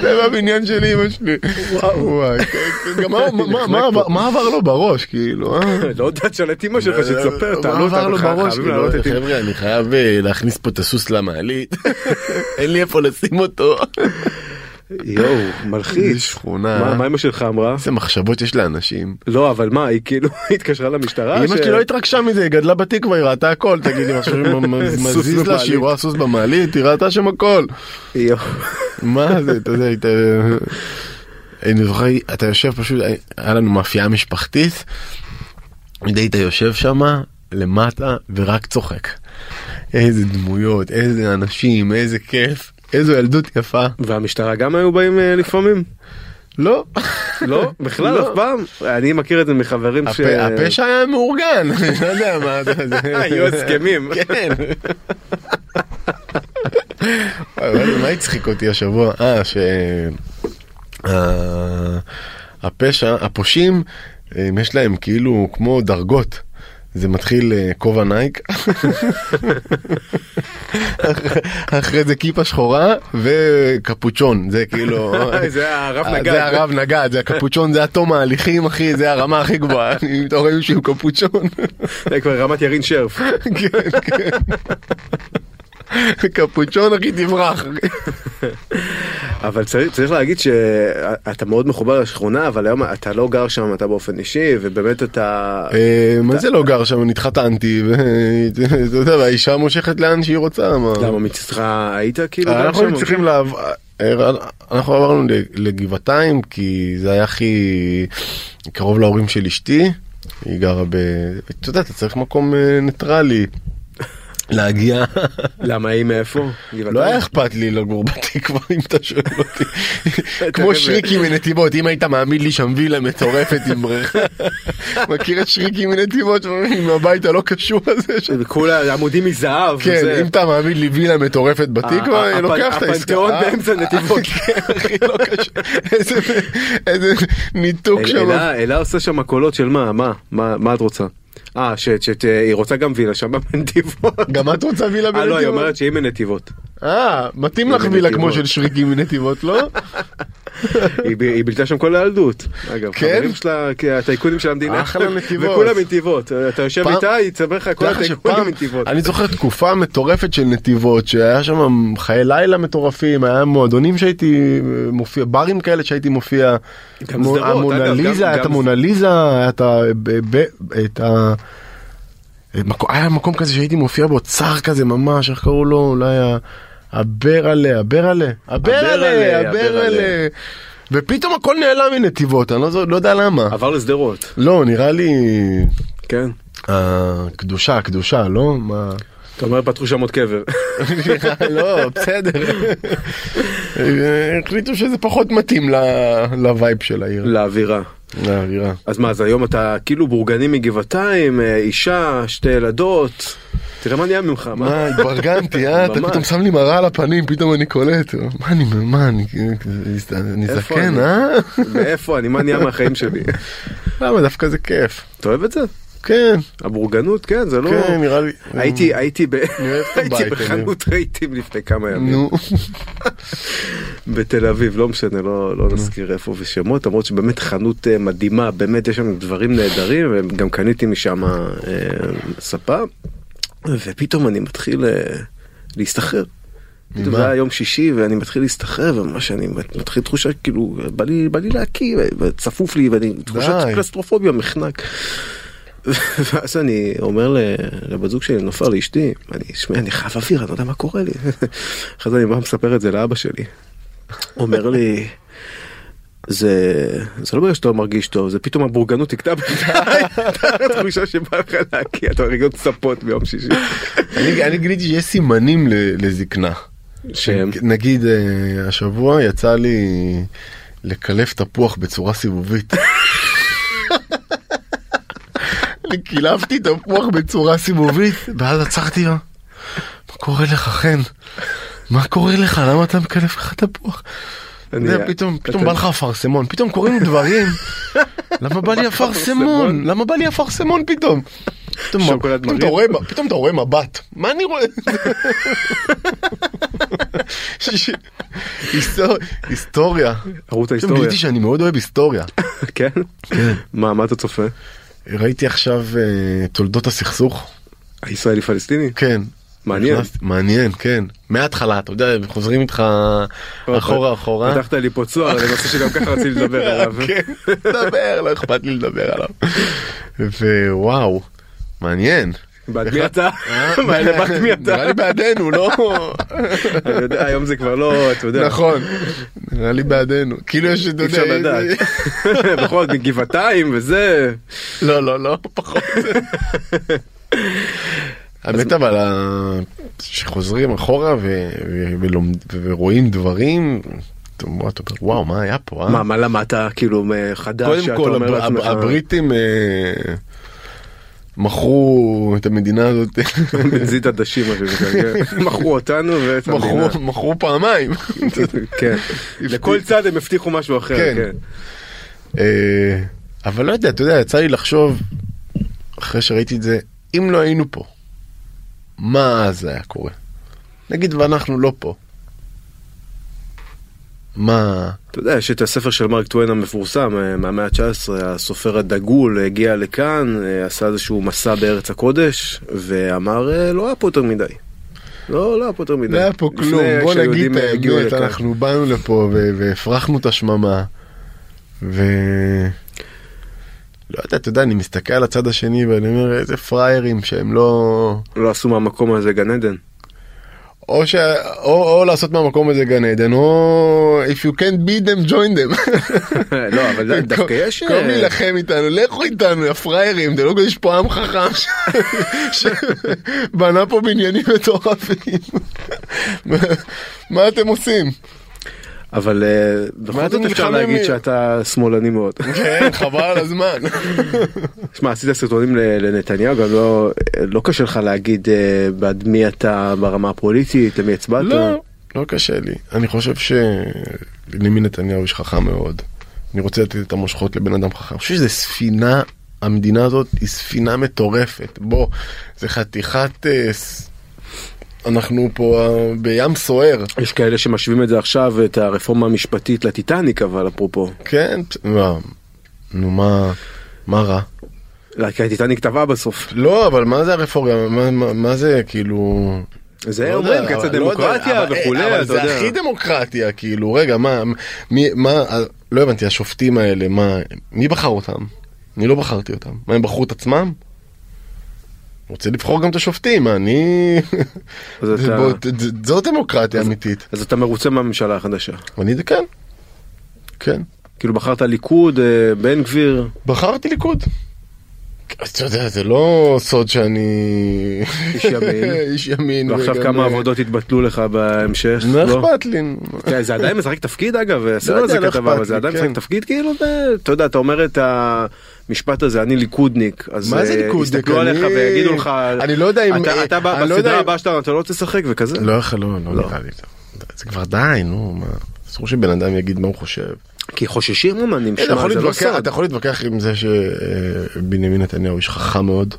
זה בבניין של אמא שלי. וואו. גם מה- מה- מה- מה עבר לו בראש, כאילו, אה?
לא יודעת שאלה את אמא שלך שתספר,
מה
תעלו אותה.
עבר לו
חייבים
בראש, כאילו,
להעלות את אמא.
חבר'ה, אני חייב אה, להכניס פה את הסוס למעלית, אין לי איפה לשים אותו.
יואו, מלחיץ.
איזה שכונה.
מה מה אמא שלך אמרה?
איזה מחשבות יש לאנשים.
לא, אבל מה, היא כאילו התקשרה למשטרה?
אמא
אה, ש-
שלי לא התרגשה מזה, היא גדלה בתקווה, היא ראתה הכל, תגידי, מה שאני
סוס
מזיז לה
במעלית.
שהיא רואה סוס במעלית, היא ראתה שם הכל.
יואו.
מה זה, אתה יודע, היית... אני זוכר, אתה יושב פשוט, היה לנו מאפייה משפחתית, היית יושב שמה למטה ורק צוחק. איזה דמויות, איזה אנשים, איזה כיף, איזו ילדות יפה.
והמשטרה גם היו באים אה, לפעמים?
לא,
לא, בכלל
לא.
אף פעם. אני מכיר את זה מחברים ש...
הפ- הפשע היה מאורגן, אני לא יודע מה זה. זה-
היו הסכמים.
כן. אבל מה הצחיק אותי השבוע? אה, ש... ה- הפשע, הפושעים, הם, יש להם כאילו כמו דרגות. זה מתחיל אה, כובע נייק, אחרי- אחרי זה כיפה שחורה וקפוצ'ון, זה כאילו,
אה, זה הרב נגד.
אה, זה הרב נגד, זה הקפוצ'ון, זה התום ההליכים אחי, זה הרמה הכי גבוהה, אני מתעורר מישהו עם קפוצ'ון,
זה כבר רמת ירין שרף.
כן, כן. קפוצ'ון אחי תברח,
אה, אבל צריך, צריך להגיד שאתה מאוד מחובר לשכונה, אבל היום אתה לא גר שם, אתה באופן אישי, ובאמת אתה...
אה, מה זה לא גר שם, נתחתנתי, ואתה יודע, והאישה מושכת לאן שהיא רוצה, מה, אה,
למה מצדך היית כאילו גם
אנחנו
שם?
היינו צריכים לעבור, אנחנו עברנו ל- לגבעתיים כי זה היה הכי קרוב להורים של אשתי, היא גרה ב... אתה יודע, אתה צריך מקום אה, ניטרלי. להגיע,
למה היא מאיפה?
לא
גבעתיים?
היה אכפת לי לגור בתקווה אם אתה שואל אותי, כמו
תראה,
שריקי מנתיבות, אם היית מעמיד לי שם וילה מטורפת עם בריכה, מכיר את שריקי מנתיבות, עם הבית הלא קשור הזה, ש-
כולה עמודים מזהב. וזה.
כן, אם אתה מעמיד לי וילה מטורפת
ה-
בתקווה,
אה, הפ-
לוקח את העסקה.
הפנתיאון
אה?
באמצע נתיבות.
כן, אחי, לא קשה. איזה- איזה ניתוק
אל-
שם.
אלה- אלה עושה שם קולות של מה? מה? מה מה את רוצה? אה, ש- ש- ש- היא רוצה גם וילה שם בנתיבות.
גם את רוצה וילה
אה,
בנתיבות?
לא, היא אומרת שהיא מנתיבות.
אה, מתאים
היא
לך וילה כמו
מנתיבות.
של שריקי מנתיבות, לא?
היא ב- היא בילתה שם כל הילדות. אגב,
כן?
חברים שלה, כי הטייקונים של המדינה.
אחלה נתיבות.
וכולם מנתיבות. אתה יושב
פעם-
איתה, היא תספר לך כל
תדע לך
הטייקונים
שפעם-
מנתיבות.
אני זוכר תקופה מטורפת של נתיבות, שהיה שם חיי לילה מטורפים, היה מועדונים שהייתי מופיע, ברים כאלה שהייתי מופיע.
גם סדרות, אגב,
המונליזה,
גם-
היה את
גם-
המונליזה, היה את ה... ב- ב- את ה... מקו- היה מקום כזה שהייתי מופיע בו צר כזה ממש, איך קראו לו? אולי ה- הברלה, הברלה, הברלה,
הברלה.
הברלה. ופתאום הכל נעלם מנתיבות, אני לא זו- לא יודע למה.
עבר לשדרות.
לא, נראה לי
כן.
הקדושה, הקדושה, לא? מה?
אתה אומר פתחו שם עוד קבר.
לא, בסדר. החליטו שזה פחות מתאים ל- לווייב של העיר,
לאווירה.
לאווירה.
אז מה, אז היום אתה כאילו בורגני מגבעתיים, אה, אישה, שתי ילדות. תראה מה נהיה ממך, מה?
מה, התברגנתי, אה? אתה
ממש.
פתאום שם לי מראה על הפנים, פתאום אני קולט. מה אני, מה, אני אני
איפה
זקן,
אני?
אה?
מאיפה אני? מה נהיה מהחיים שלי?
למה, דווקא זה כיף.
אתה אוהב את זה?
כן,
הבורגנות, כן, זה לא...
כן, נראה לי.
הייתי, הייתי ב-
אוהב את הבית,
הייתי
אני.
בחנות רהיטים לפני כמה ימים.
נו,
בתל אביב, לא משנה, לא, לא נזכיר איפה ושמות, למרות שבאמת חנות אה, מדהימה, באמת יש שם דברים נהדרים, וגם קניתי משם אה, ספה, ופתאום אני מתחיל אה, להסתחרר. פתאום זה היה יום שישי ואני מתחיל להסתחרר וממש אני מתחיל תחושה כאילו בא לי בא לי להקיא וצפוף לי ואני תחושת
די.
קלסטרופוביה מחנק. ואז אני אומר ל- לבת זוג שלי נופר לאשתי אני שמע אני חייב אוויר אני לא יודע מה קורה לי. אחרי זה אני בא מספר את זה לאבא שלי. אומר לי. זה זה לא בגלל שאתה לא מרגיש טוב זה פתאום הבורגנות הכתה בך התחושה שבא לך להקיא אתה מרגיש צפות ביום שישי.
אני אני גיליתי שיש סימנים ל- לזקנה.
שהם
כן, נגיד, אה, השבוע יצא לי לקלף תפוח בצורה סיבובית. אני קילפתי תפוח בצורה סיבובית, ואז עצרתי לה. מה קורה לך, חן? מה קורה לך? למה אתה מקלף לך תפוח?
אני-
אתה יודע, כן. פתאום, פתאום
אתה-
בא לך אפרסמון, פתאום קורים דברים. למה בא לי אפרסמון?
אפרסמון?
למה בא לי אפרסמון פתאום? פתאום
שוקולד
פתאום
מרים?
אתה רואה- פתאום אתה רואה מבט. מה אני רואה? ש- היסטור- היסטוריה.
ערוץ
פתאום
ההיסטוריה
גיליתי שאני מאוד אוהב היסטוריה.
כן מה מה אתה צופה
ראיתי עכשיו אה, תולדות הסכסוך.
הישראלי פלסטיני
כן.
מעניין.
נכנסתי- מעניין, כן. מההתחלה, אתה יודע, חוזרים איתך אחורה אחורה.
פתחת לי פה צוהר לנושא שגם ככה רציתי לדבר עליו.
כן, דבר, לא אכפת לי לדבר עליו. ווואו, מעניין.
בעד מי אתה?
אה?
מה, לבד מי אתה?
נראה לי בעדנו, לא?
אני יודע, היום זה כבר לא, אתה יודע.
נכון, נראה לי בעדנו. כאילו יש, אתה
אי
יודע, אה,
אפשר לדעת. בכל זאת מגבעתיים וזה.
לא, לא, לא, פחות. האמת אבל ה- שחוזרים אחורה ו- ו- ולומד- ורואים דברים, אתה אומר, אתה אומר, וואו, מה היה פה? אה?"
מה, מה למדת כאילו מחדש?
קודם
שאתה
כל
אומר
הבר-
לעצמך-
הבריטים אה, מכרו את המדינה הזאת,
בנזית עדשים, מה שנקרא, כן. מכרו אותנו ואת המדינה.
מכרו- מכרו פעמיים.
כן. לכל צד הם הבטיחו משהו אחר.
כן.
כן.
אה, אבל לא יודע, אתה יודע, יצא לי לחשוב, אחרי שראיתי את זה, אם לא היינו פה, מה אז היה קורה? נגיד ואנחנו לא פה. מה...
אתה יודע, יש את הספר של מרק טוויין המפורסם אה, מהמאה ה-19, הסופר הדגול הגיע לכאן, אה, עשה איזשהו מסע בארץ הקודש, ואמר אה, לא היה פה יותר מדי. לא, לא היה פה יותר מדי.
לא היה פה
לפני
כלום, בוא
שהיהודים,
נגיד את
אה, הגיעו
האמת,
לכאן.
אנחנו באנו לפה ו- והפרחנו את השממה. ו... לא יודע, אתה יודע, אני מסתכל על הצד השני ואני אומר, איזה פראיירים שהם לא...
לא עשו מהמקום הזה גן עדן.
או, ש... או, או לעשות מהמקום הזה גן עדן, או if you can't beat them, join them.
לא, אבל ד- דווקא יש...
קום
אה,
להילחם איתנו, לכו איתנו, יא פראיירים, זה לא יש פה עם חכם ש- שבנה פה בניינים מטורפים. מה- מה אתם עושים?
אבל אה,
מה
בכל
אתם
זאת אפשר
נלחמים
להגיד
מי-
שאתה שמאלני מאוד.
כן, חבל על הזמן.
שמע, עשית סרטונים ל- לנתניהו, גם לא לא קשה לך להגיד אה, בעד מי אתה ברמה הפוליטית, למי הצבעת.
לא, לא קשה לי. אני חושב שלמי נתניהו יש חכם מאוד. אני רוצה לתת את המושכות לבן אדם חכם. אני חושב שזה ספינה, המדינה הזאת היא ספינה מטורפת. בוא, זה חתיכת... אה, ס- אנחנו פה אה, בים סוער.
יש כאלה שמשווים את זה עכשיו, את הרפורמה המשפטית לטיטניק, אבל אפרופו.
כן, פ- מה, נו מה, מה רע?
כי הטיטניק טבעה בסוף.
לא, אבל מה זה הרפורמה? מה, מה, מה זה כאילו...
זה
לא
אומרים,
יודע,
קץ
אבל- לא יודע,
הדמוקרטיה
אבל-
וכולי,
אבל
אתה
זה
יודע.
הכי דמוקרטיה, כאילו, רגע, מה, מי, מה, לא הבנתי, השופטים האלה, מה, מי בחר אותם? אני לא בחרתי אותם. מה, הם בחרו את עצמם? רוצה לבחור גם את השופטים, מה, אני...
אז
זה
אתה-
בוא, ת- ת- זו דמוקרטיה אמיתית.
אז אתה מרוצה מהממשלה החדשה.
אני, כן, כן.
כאילו בחרת ליכוד, אה, בן גביר,
בחרתי ליכוד. אז אתה יודע, זה לא סוד שאני...
איש ימין.
איש ימין.
ועכשיו
וגם,
כמה
אה,
עבודות יתבטלו לך בהמשך.
לא
לא?
אכפת לי.
תראה, זה עדיין משחק תפקיד אגב, אה, עשינו
יודע,
על זה
לא
כתבה,
אכפת
אבל זה
לי,
עדיין
כן.
משחק תפקיד כאילו, ב- אתה יודע, אתה אומר את המשפט הזה, אני ליכודניק, אז
מה זה
אה,
ליכודניק?
יסתכלו
אני-
עליך ויגידו לך,
אני לא יודע אם-
אתה-
אה,
אתה ב-
אני לא יודע
בסדרה
אם-
הבאה שאתה אתה לא רוצה לשחק וכזה,
לא, איך- לא, לא נראה לי. זה כבר די, נו, מה. אסור שבן אדם יגיד מה הוא חושב.
כי חוששים אומנים,
אתה
שמע,
כן, יכול
זה לא
להתווכח-
סוד.
אתה יכול להתווכח עם זה שבנימין נתניהו איש חכם מאוד.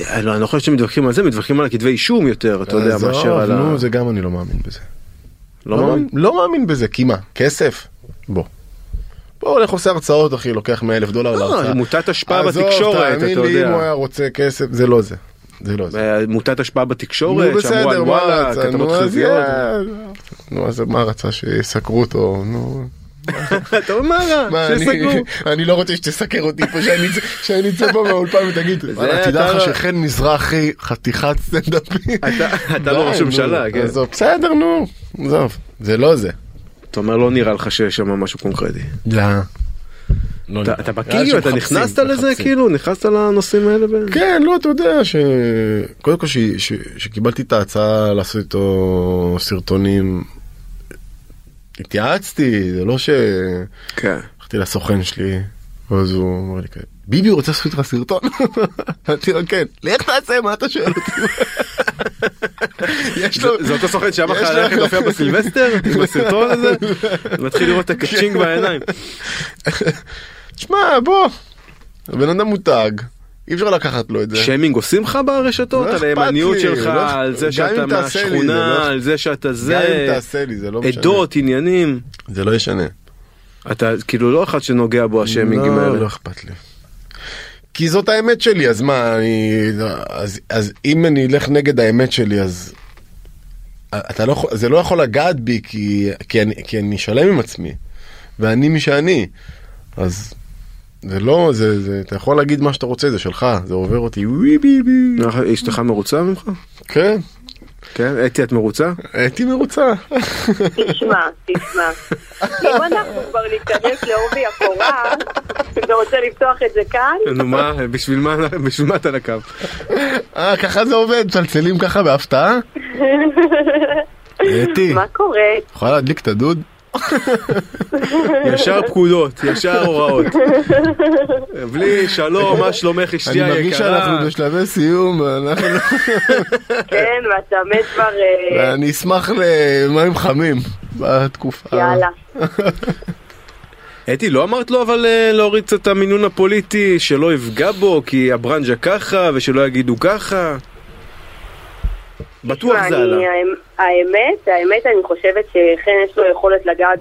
אה, לא, אני לא חושב שמתווכחים על זה, מתווכחים על הכתבי אישום יותר, אתה יודע,
אה, עזוב,
מאשר על ה...
נו, זה גם אני לא מאמין בזה.
לא מאמין?
לא מאמין בזה, כי מה? כסף? בוא. בוא הולך עושה הרצאות אחי, לוקח 100 אלף דולר
לא,
להרצאה.
מוטת השפעה
עזוב,
בתקשורת, אתה
תאמין לי,
יודע.
אם הוא היה רוצה כסף, זה לא זה. זה לא זה.
אה, מוטת השפעה
נו,
בתקשורת, שאמרו על
בסדר, מה
וואלה,
רצה?
כתבות
נו, אז
חיוביות.
יאללה. נו, אז מה רצה? שיסקרו אותו, נו.
אתה אומר, מה
מה,
רע,
אני-
שיסגרו.
אני לא רוצה שתסקר אותי פה, שאני אצא- שאני אצא פה מהאולפן ותגיד, "וואלה, תדע
אתה
לך
לא-
שחן מזרחי חתיכת סטנדאפי.
אתה- אתה לא
די,
ראש
נו,
ממשלה, כן.
עזוב, בסדר, נו, עזוב, זה לא זה.
אתה אומר, לא נראה לך שיש שם משהו קונקרטי.
לא.
אתה- אתה בקיא, אתה נכנסת לזה כאילו? נכנסת לנושאים האלה? ב-
כן, לא, אתה יודע ש... קודם כל, ש... ש... שקיבלתי את ההצעה לעשות איתו סרטונים, התייעצתי, זה לא ש...
כן.
הלכתי לסוכן שלי, ואז הוא אומר לי כזה, ביבי רוצה לעשות לך סרטון? אמרתי לו כן, לך תעשה מה אתה שואל אותי? יש לו,
זה אותו סוכן שאמר לך
יש לו-
ללכת להופיע בסילבסטר? עם הסרטון הזה? מתחיל לראות את
כן.
הקצ'ינג בעיניים.
שמע בוא, הבן אדם מותג, אי אפשר לקחת לו את זה.
שיימינג עושים לך ברשתות?
לא
על
אכפת
הימניות
לי,
שלך,
לא אכפ-
על
גם
זה
אם
שאתה
תעשה לי את זה, לא
מהשכונה,
אכפ-
על זה שאתה
גם
זה,
אם תעשה לי זה לא משנה.
עדות, עניינים.
זה לא ישנה.
אתה כאילו לא אחד שנוגע בו השיימינגים
לא,
האלה.
לא אכפת לי. כי זאת האמת שלי, אז מה, אני... אז, אז אם אני אלך נגד האמת שלי, אז... אתה לא, יכול- זה לא יכול לגעת בי כי, כי, אני, כי אני שלם עם עצמי, ואני מי שאני. אז זה לא, זה, זה, אתה יכול להגיד מה שאתה רוצה, זה שלך, זה עובר אותי, ווי בי בי.
אה, אשתך מרוצה ממך?
כן,
כן, אתי את מרוצה?
הייתי מרוצה.
תשמע, תשמע. אם אנחנו כבר ניכנס לעובי הקורה, אתה רוצה לפתוח את זה כאן?
נו מה, בשביל מה- בשביל מה אתה על הקו?
אה, ככה זה עובד, מצלצלים ככה בהפתעה?
כן.
אתי,
מה קורה?
יכולה להדליק את הדוד?
ישר פקודות, ישר הוראות. בלי שלום, מה שלומך אשתי
אני
היקרה?
מרגיש שאנחנו בשלבי סיום, אנחנו...
כן, ואתה מת כבר... אה,
אני
אה,
אשמח למים חמים בתקופה.
יאללה.
אתי, לא אמרת לו אבל אה, להוריד קצת את המינון הפוליטי, שלא יפגע בו, כי הברנז'ה ככה, ושלא יגידו ככה? בטוח
תשמע,
זה
לא, אני-
עלה.
האמ- האמת, האמת, אני חושבת שחן יש לו יכולת לגעת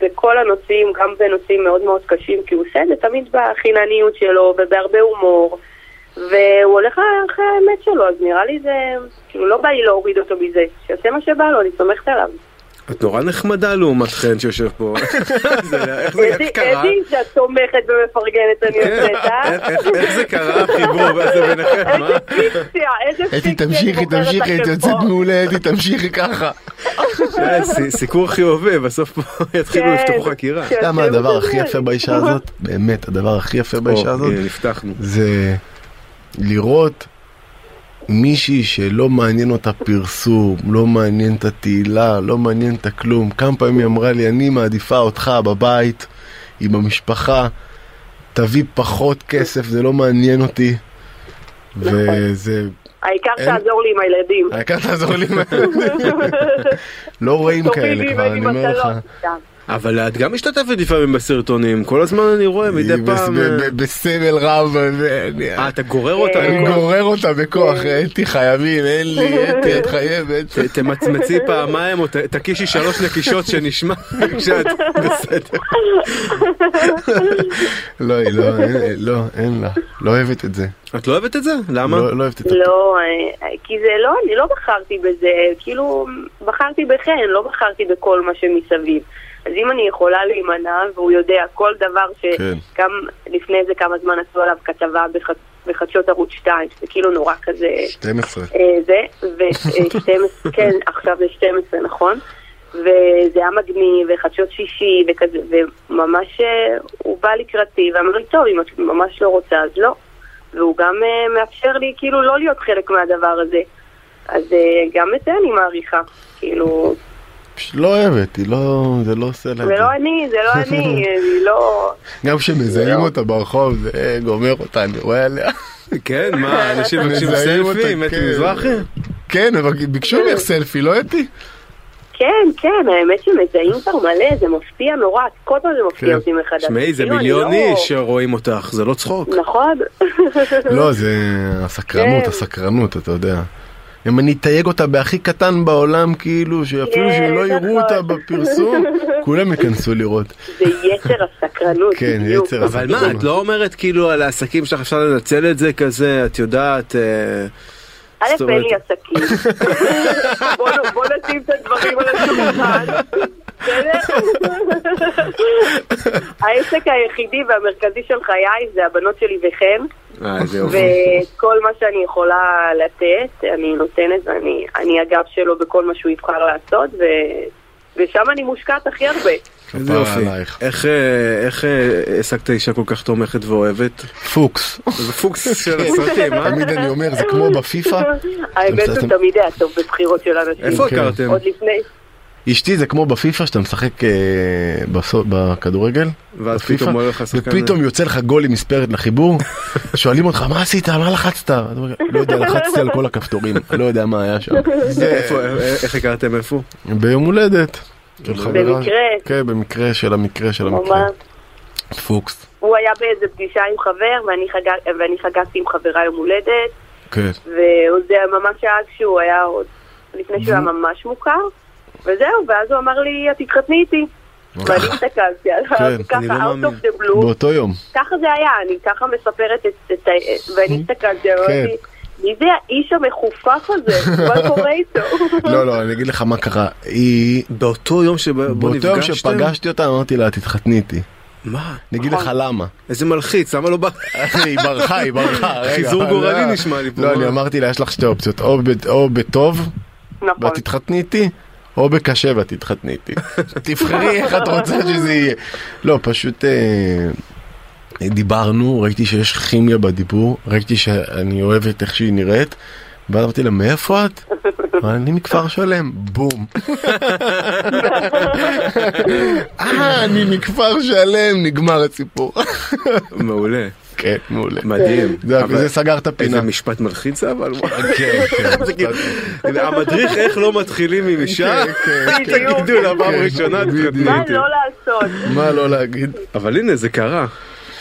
בכל הנושאים, גם בנושאים מאוד מאוד קשים, כי הוא עושה את זה תמיד בחינניות שלו ובהרבה הומור, והוא הולך אחרי האמת שלו, אז נראה לי זה, כאילו, לא בא לי להוריד אותו מזה, שיעשה מה שבא לו, אני סומכת עליו.
את נורא נחמדה לעומת חן שיושב פה. זה- איך זה
איזה
איך קרה?
איזה אישה תומכת ומפרגנת אני
כן,
יוצאת, אה?
איך- איך- איך זה קרה החיבור הזה ביניכם? אה? מה?
איזה פיקציה, איזה פיקציה.
אתי תמשיכי,
אני בוחרת
תמשיכי, את
לכם
יוצאת
פה.
מעולה, אתי תמשיכי ככה.
אה, סי- סיקור חיובי, בסוף פה יתחילו
כן.
לפתוח חקירה.
אתה יודע מה
שיושבת
הדבר הכי
מדברת.
יפה באישה הזאת? באמת, הדבר הכי יפה באישה
או, אה,
הזאת?
הנה, אוקיי, נפתחנו.
זה לראות מישהי שלא מעניין אותה פרסום, לא מעניין את התהילה, לא מעניין את הכלום. כמה פעמים היא אמרה לי, אני מעדיפה אותך בבית, עם המשפחה, תביא פחות כסף, זה לא מעניין אותי. וזה,
העיקר
אין-
תעזור לי עם הילדים.
העיקר תעזור לי, לא רואים
תורידי
כאלה כבר,
ממני
אני אומר לך.
מטלות. סתם.
אבל את גם משתתפת לפעמים בסרטונים, כל הזמן אני רואה מדי
היא בס-
פעם.
ב-
אה,
ב- בסמל רב, ואני-
אה, אתה גורר כן. אותה.
אה,
אני
בכוח.
גורר אותה בכוח, אתי חייבים, אין לי, אתי את חייבת.
ת- תמצמצי פעמיים או ת- תקישי שלוש נקישות שנשמע כשאת בסדר.
לא, היא לא, אין- אה, לא, אין לה, לא אוהבת את זה.
את לא אוהבת את זה? למה?
לא לא אוהבת את זה.
לא, אה, כי זה לא, אני לא בחרתי בזה, כאילו, בחרתי בחן, לא בחרתי בכל מה שמסביב. אז אם אני יכולה להימנע, והוא יודע כל דבר
כן.
שגם לפני זה כמה זמן עשו עליו כתבה בח- בחדשות ערוץ 2, שזה כאילו נורא כזה...
12.
אה, זה, ו-12, כן, עכשיו זה 12, נכון? וזה היה מגניב, וחדשות שישי, וכזה, וממש אה, הוא בא לקראתי, ואמר לי, טוב, אם את ממש לא רוצה, אז לא. והוא גם אה, מאפשר לי כאילו לא להיות חלק מהדבר הזה. אז אה, גם את זה אני מעריכה, כאילו,
פשוט לא אוהבת, היא לא, זה לא עושה לה
זה
את
לא אני, זה לא אני, אני לא...
זה. גם כשמזהים
לא.
אותה ברחוב, זה גומר אותה, אני רואה עליה.
כן, מה, אנשים מבקשים
מזהים אותה,
סלפי, מתי
כן.
מזרחי?
כן, אבל ביקשו ממך סלפי, לא אתי?
כן, כן, האמת שמזהים כבר מלא, זה מפתיע נורא, כל פעם זה
כן.
מפתיע אותי מחדש.
שמעי, זה
כאילו, אני
מיליון
לא-
איש שרואים אותך, זה לא צחוק.
נכון.
לא, זה הסקרנות,
כן.
הסקרנות, אתה יודע. אם אני אתייג אותה בהכי קטן בעולם, כאילו, שאפילו
כן,
שלא יראו
נכון.
אותה בפרסום, כולם ייכנסו לראות.
זה יצר הסקרנות,
כן,
בדיוק.
יצר
אבל מה, את לא אומרת כאילו על העסקים שלך אפשר לנצל את זה כזה, את יודעת... אה,
א',
זאת אומרת-
אין לי עסקים. בוא נ- בוא נשים את הדברים על השולחן. בסדר? העסק היחידי והמרכזי של חיי זה הבנות שלי וחן,
אה, איזה יופי.
אוקיי.
וכל מה שאני יכולה לתת, אני נותנת, ואני אני הגב שלו בכל מה שהוא יבחר לעשות, ו... ושם אני מושקעת הכי הרבה.
איזה
כפרה
יופי.
עלייך.
איך, אה, איך אה, השגת אישה כל כך תומכת ואוהבת?
פוקס.
זה פוקס
כן.
של הסרטים, אה?
תמיד אני אומר, זה כמו בפיפא.
האמת
אתם-
הוא תמיד היה טוב בבחירות של אנשים.
איפה
כן.
הכרתם?
עוד לפני,
אשתי זה כמו בפיפא שאתה משחק אה, בסו- בכדורגל.
ואז
בפיפא,
פתאום עולה לך שחקן...
ופתאום יוצא לך גול עם מספרת לחיבור, שואלים אותך מה עשית, על מה לחצת? אתה אומר, לא יודע, לחצתי על כל הכפתורים, לא יודע מה היה שם. אה,
איפה, אה, איך הכרתם איפה?
ביום הולדת. של חברה.
במקרה.
כן, במקרה של המקרה של המקרה.
ממש.
פוקס.
הוא היה באיזה פגישה עם חבר, ואני, חגג, ואני חגגתי עם חברה יום הולדת,
כן.
וזה ממש היה כשהוא היה עוד, לפני שהוא היה
Mhm.
ממש מוכר, וזהו, ואז הוא אמר לי, את תתחתני איתי. ואני הסתכלתי עליו,
כן,
ככה,
אני לא
out
מאמין.
of the blue,
באותו יום.
ככה זה היה, אני ככה מספרת את את ה... ואני הסתכלתי עליו,
Mhm. כן.
אמרתי, מי זה האיש המחופף הזה? מה קורה איתו?
לא, לא, אני אגיד לך מה קרה. היא...
באותו יום שבו
באותו יום
נפגשתם?
שפגשתי אותה אמרתי לה תתחתני איתי.
מה?
אני אגיד לך למה.
איזה מלחיץ, למה לא בא?
היא ברחה, היא ברחה. רגע,
חיזור
לא.
גורלי נשמע לי פה.
לא, אני אמרתי לה יש לך שתי אופציות, או ב- או בטוב
נכון.
ואת תתחתני איתי, או בקשה ואת תתחתני איתי. תבחרי איך את רוצה שזה יהיה. לא, פשוט אה, דיברנו, ראיתי שיש כימיה בדיבור, ראיתי שאני אוהבת איך שהיא נראית, ואז אמרתי לה, מאיפה את? אני מכפר שלם, בום. אה, אני מכפר שלם, נגמר הסיפור.
מעולה.
כן, מעולה.
מדהים.
זה-
אבל-
זה סגר את הפינה.
איזה משפט מלחיץ זה אבל. וואי.
כן, כן.
זה כאילו, המדריך איך לא מתחילים עם אישה,
כן, כן,
את
כן.
הגידול הפעם
כן,
הראשונה,
בדיוק.
תתקדמי
מה
איתי.
לא לעשות?
מה לא להגיד?
אבל הנה זה קרה,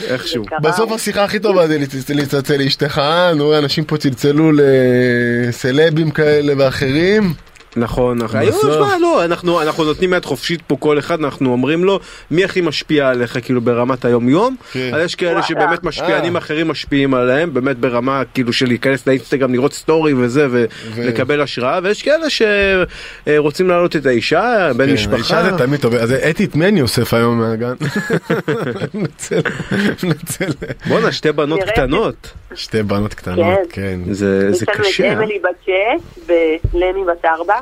איכשהו.
קרה.
בסוף השיחה הכי טובה זה לצ- לצלצל לאשתך, אה, נו, אנשים פה צלצלו לסלבים כאלה ואחרים.
נכון, נכון. היום,
בסוף.
שמע, לא, אנחנו אנחנו נותנים יד חופשית פה כל אחד, אנחנו אומרים לו מי הכי משפיע עליך כאילו ברמת היום יום.
כן.
אז יש כאלה
וואלה.
שבאמת משפיענים
אה.
אחרים משפיעים עליהם, באמת ברמה כאילו של להיכנס לאינסטגרם לראות סטורי וזה ו-
ו-
ולקבל השראה, ויש כאלה שרוצים להעלות את האישה, בן
כן,
משפחה.
האישה זה תמיד טוב, אז אתית מני אוסף היום מהגן. מנצל, מנצל.
בואנה, שתי בנות
נראה לי-
קטנות.
שתי בנות קטנות, כן.
זה זה
יש
קשה.
לנו
אה?
את אמילי בת שש ולני בת ארבע.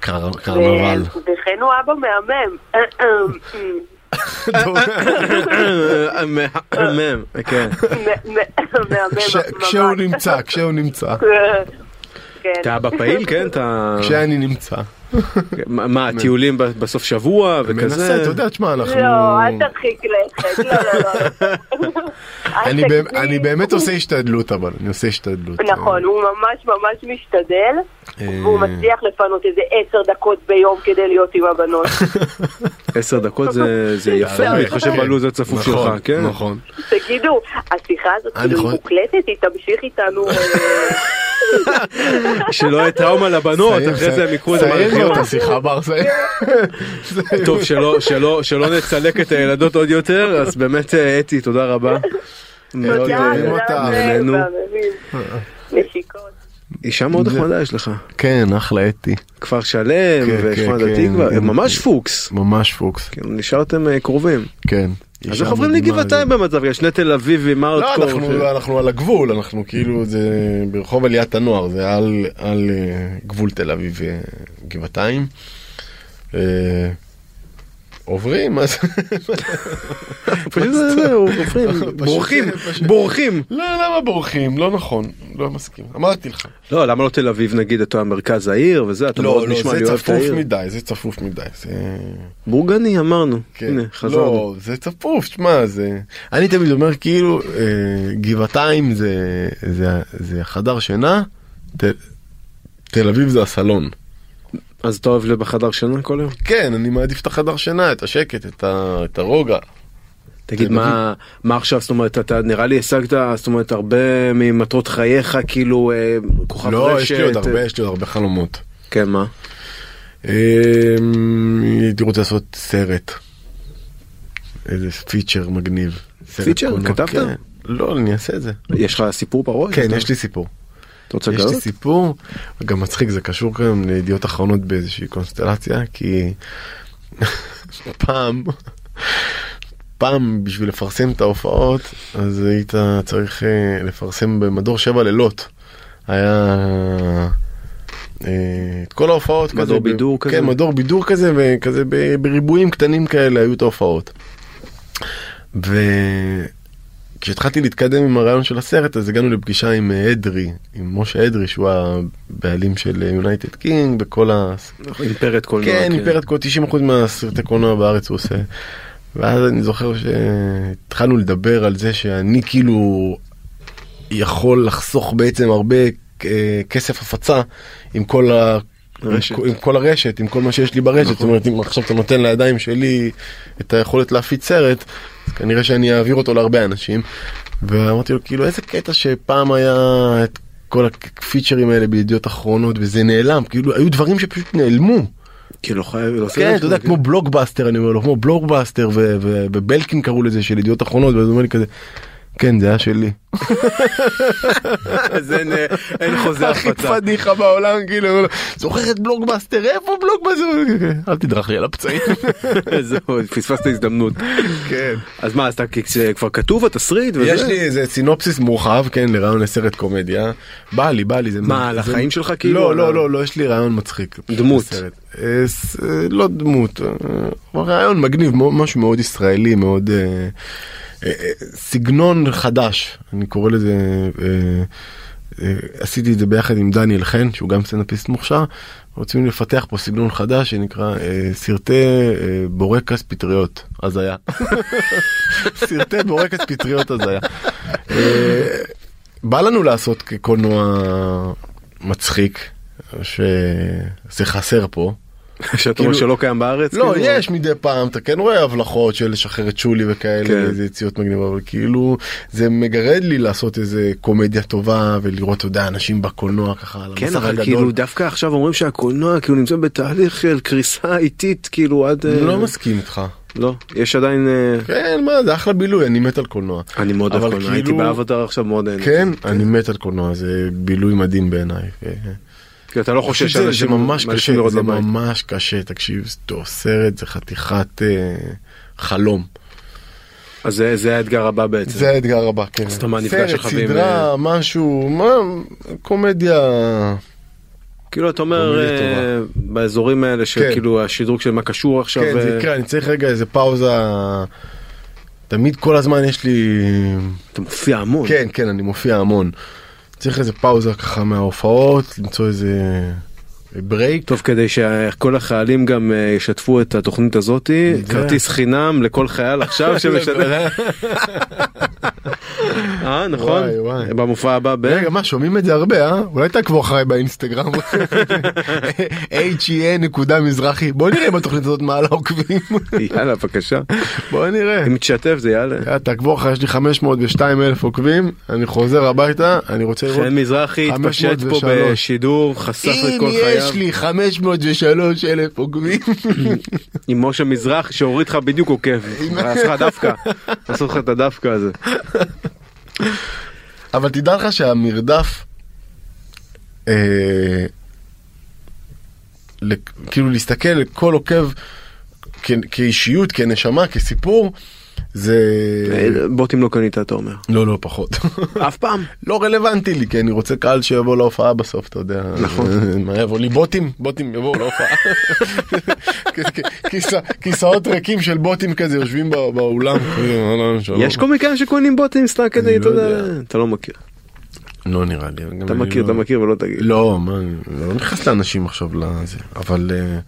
קר-
כן.
קרנבל.
ו- וכן הוא אבא מהמם. אה,
מהמם, כן.
מהמם
כש-
ממש.
כשהוא
אה,
נמצא, כשהוא נמצא.
כן.
אתה אבא פעיל, כן? אתה...
כשאני נמצא.
מה, מה, הטיולים ב- בסוף שבוע וכזה?
מנסה, אתה יודע, תשמע, אנחנו...
לא, אל תרחיק לכת. לא, לא, לא. אל
אני
תגזים.
באמת- אני באמת עושה השתדלות, אבל אני עושה השתדלות.
נכון, הוא ממש ממש משתדל,
אה,
והוא מצליח לפנות איזה עשר דקות ביום כדי להיות עם הבנות.
עשר דקות זה- זה יפה,
אה,
אני חושב
כן.
בלו"ז הצפוף שלך,
נכון,
כן?
נכון.
תגידו, השיחה הזאת
אני
כאילו היא
חושב-
מוקלטת, היא תמשיך איתנו. אה,
שלא יהיה טראומה לבנות,
סיים,
אחרי זה
סיים.
הם יקחו את זה
סיים לו
מהארכיון.
את השיחה בר, סיים.
טוב, שלא- שלא- שלא נצלק את הילדות עוד יותר, אז באמת, אה, אתי, תודה רבה. מאוד
תודה,
אוהבים
תודה
אותה,
רבה,
נהנינו.
מהממים. נשיקות.
אישה מאוד
זה-
נחמדה יש לך.
כן, אחלה אתי.
כפר שלם,
כן,
ושכונת
כן,
התקווה,
כן.
הם ממש פוקס.
ממש פוקס,
כאילו, נשארתם אה, קרובים.
כן.
אז
אישה
איך עוברים
מדהימה,
לגבעתיים במצב כזה? שני תל אביבים, מה עוד
לא,
קורה?
אנחנו, אנחנו על הגבול, אנחנו כאילו, זה ברחוב עליית הנוער, זה על, על אה, גבול תל אביב אה, גבעתיים. אה, עוברים, אז...
פשוט זה- זהו, עוברים,
פשוט-
בורחים,
פשוט-
בורחים.
לא, למה בורחים? לא נכון, לא מסכים. אמרתי לך.
לא, למה לא תל אביב נגיד, אתה מרכז העיר וזה, אתה מאוד נשמע לי
לא, זה
אוהב את
צפוף
העיר.
מדי, זה צפוף מדי. זה...
בורגני אמרנו,
כן.
הנה, חזרנו.
לא, זה צפוף, שמע, זה... אני תמיד אומר כאילו, אה, גבעתיים זה, זה, זה חדר שינה, תל, תל אביב זה הסלון.
אז אתה אוהב להיות בחדר שינה כל יום?
כן, אני מעדיף את החדר שינה, את השקט, את, ה, את הרוגע.
תגיד,
תל
מה מה עכשיו, זאת אומרת, אתה נראה לי השגת, זאת אומרת, הרבה ממטרות חייך, כאילו, אה, כוכב רשת.
לא, יש לי עוד הרבה,
אה,
יש לי עוד הרבה חלומות.
כן, מה?
אה, הייתי רוצה לעשות סרט. איזה פיצ'ר מגניב. סרט
פיצ'ר?
קולנוע,
כתבת?
כן. לא, אני אעשה את זה.
יש לך סיפור בראש?
כן,
אתה-
יש לי סיפור.
אתה רוצה
יש לי
לגלות?
סיפור, גם מצחיק, זה קשור כאן לידיעות אחרונות באיזושהי קונסטלציה, כי פעם, פעם בשביל לפרסם את ההופעות, אז היית צריך אה, לפרסם במדור שבע לילות. היה אה, את כל ההופעות
מדור
כזה. ב-
בידור כזה?
כן, מדור בידור כזה, וכזה ב- בריבועים קטנים כאלה היו את ההופעות. ו... כשהתחלתי להתקדם עם הרעיון של הסרט אז הגענו לפגישה עם אה, אדרי, עם משה אדרי שהוא הבעלים של יונייטד קינג וכל ה...
אימפרית קולנוע.
כן, אימפרט קוד 90% מהסרטי קולנוע בארץ הוא עושה. ואז אני זוכר שהתחלנו לדבר על זה שאני כאילו יכול לחסוך בעצם הרבה אה, כסף הפצה עם כל ה...
רשת.
עם, כל- עם כל הרשת, עם כל מה שיש לי ברשת, זאת אומרת אם עכשיו אתה נותן לידיים שלי את היכולת להפיץ סרט, אז כנראה שאני אעביר אותו להרבה אנשים. ואמרתי לו כאילו איזה קטע שפעם היה את כל הפיצ'רים האלה בידיעות אחרונות וזה נעלם, כאילו היו דברים שפשוט נעלמו.
כאילו, חייב...
כן, אתה יודע, כמו בלוגבאסטר, אני אומר לו, כמו בלוגבאסטר, ו- ו- ובלקין קראו לזה של ידיעות אחרונות, ואז הוא אומר לי כזה, כן, זה היה שלי.
אז אין, אה, אין חוזה
הכי
הפצה.
פדיחה בעולם, כאילו, הוא אומר לו, זוכר את בלוגבאסטר, איפה בלוגבאסטר? הוא אומר לי, "כן, אל תדרך לי על הפצעים.
זהו, פספסת הזדמנות.
כן.
אז מה, אז אתה כ- כבר כתוב התסריט וזה?
יש לי איזה סינופסיס מורחב, כן, לרעיון לסרט קומדיה. בא לי, בא לי, זה...
מה, על
זה-
החיים שלך, כאילו,
לא,
על ה-
לא, לא, לא, יש לי רעיון מצחיק.
דמות.
לסרט. אה, ס- אה, לא דמות, אה, אבל רעיון מגניב, מאוד- משהו מאוד ישראלי, מאוד... אה, אה, אה, סגנון חדש, אני קורא לזה... אה, אה, עשיתי את זה ביחד עם דניאל חן שהוא גם סטנדאפיסט מוכשר רוצים לפתח פה סגנון חדש שנקרא אה, סרטי אה, בורקס פטריות הזיה. סרטי בורקס פטריות הזיה. אה, אה, בא לנו לעשות קולנוע מצחיק, שזה חסר פה.
שאתה
כאילו-
אומר שלא קיים בארץ?
לא,
כאילו?
יש מדי פעם, אתה כן רואה הבלחות של לשחרר את שולי
כן.
וכאלה, איזה יציאות מגניבות, אבל כאילו זה מגרד לי לעשות איזה קומדיה טובה ולראות, אתה יודע, אנשים בקולנוע ככה על
כן,
המסך
אבל
הגדול.
כאילו דווקא עכשיו אומרים שהקולנוע כאילו נמצא בתהליך של קריסה איטית, כאילו עד...
אני
אה,
לא מסכים איתך.
לא, יש עדיין... אה,
כן, מה, זה אחלה בילוי, אני מת על קולנוע.
אני מאוד אוהב
אבל
קולנוע, הייתי
כאילו-
באבטר עכשיו מאוד נהנה.
כן, אני מת על קולנוע, זה בילוי מדהים בעיניי. אה,
כי אתה לא חושב
זה- זה
שאנשים
ממש
מעדיפים
קשה,
לראות
זה
בבית.
ממש קשה, תקשיב, זה טוב, סרט זה חתיכת אה, חלום.
אז זה- זה האתגר הבא בעצם.
זה האתגר הבא, כן.
אז אתה מה, נפגש
סרט,
שלך ועם,
סדרה, משהו, מה, קומדיה.
כאילו אתה אומר
קומדיה
אה, באזורים האלה
כן.
שכאילו השדרוג של מה קשור עכשיו.
כן, זה
אה,
יקרה, אני צריך רגע איזה פאוזה. תמיד כל הזמן יש לי...
אתה מופיע המון.
כן, כן, אני מופיע המון. צריך איזה פאוזה ככה מההופעות, למצוא איזה ברייק.
טוב כדי שכל החיילים גם אה, ישתפו את התוכנית הזאתי
זה-
כרטיס חינם לכל חייל עכשיו שמשתתף. אה נכון
וואי, וואי.
במופע הבא ב...
רגע, מה, שומעים את זה הרבה, אה? אולי תעקבו אחריי באינסטגרם. HEA נקודה מזרחי. בוא נראה אם התוכנית הזאת מעלה עוקבים.
יאללה בבקשה
בוא נראה.
אם תשתף זה יאללה.
יאללה, תעקבו אחריי, יש לי 502 אלף עוקבים, אני חוזר הביתה, אני רוצה לראות.
חן מזרחי התפשט פה
503.
בשידור חסך
אם
לכל
יש
חייו
לי 503 אלף עוקבים,
עם משה מזרחי שהוריד לך בדיוק עוקב. עשה לך דווקא. עשו לך את הדווקא הזה.
כן. אבל תדע לך שהמרדף, אה, לק- כאילו להסתכל על כל עוקב כ- כאישיות, כנשמה, כסיפור, זה...
בוטים לא קנית אתה אומר.
לא, לא, פחות.
אף פעם.
לא רלוונטי לי, כי אני רוצה קהל שיבוא להופעה בסוף, אתה יודע.
נכון.
מה יבוא לי? בוטים? בוטים יבואו להופעה. כיסא- כיסאות ריקים של בוטים כזה יושבים בא- באולם. כזה, "אהלן, שלום."
לא. יש קומיקאים שקונים בוטים סתם כדי
אני
אתה
לא
יודע.
יודע.
אתה לא מכיר.
לא נראה לי. גם
אתה
אני
מכיר
לא-
אתה מכיר ולא תגיד.
לא, מה, אני לא נכנס לאנשים עכשיו לזה, אבל... אה,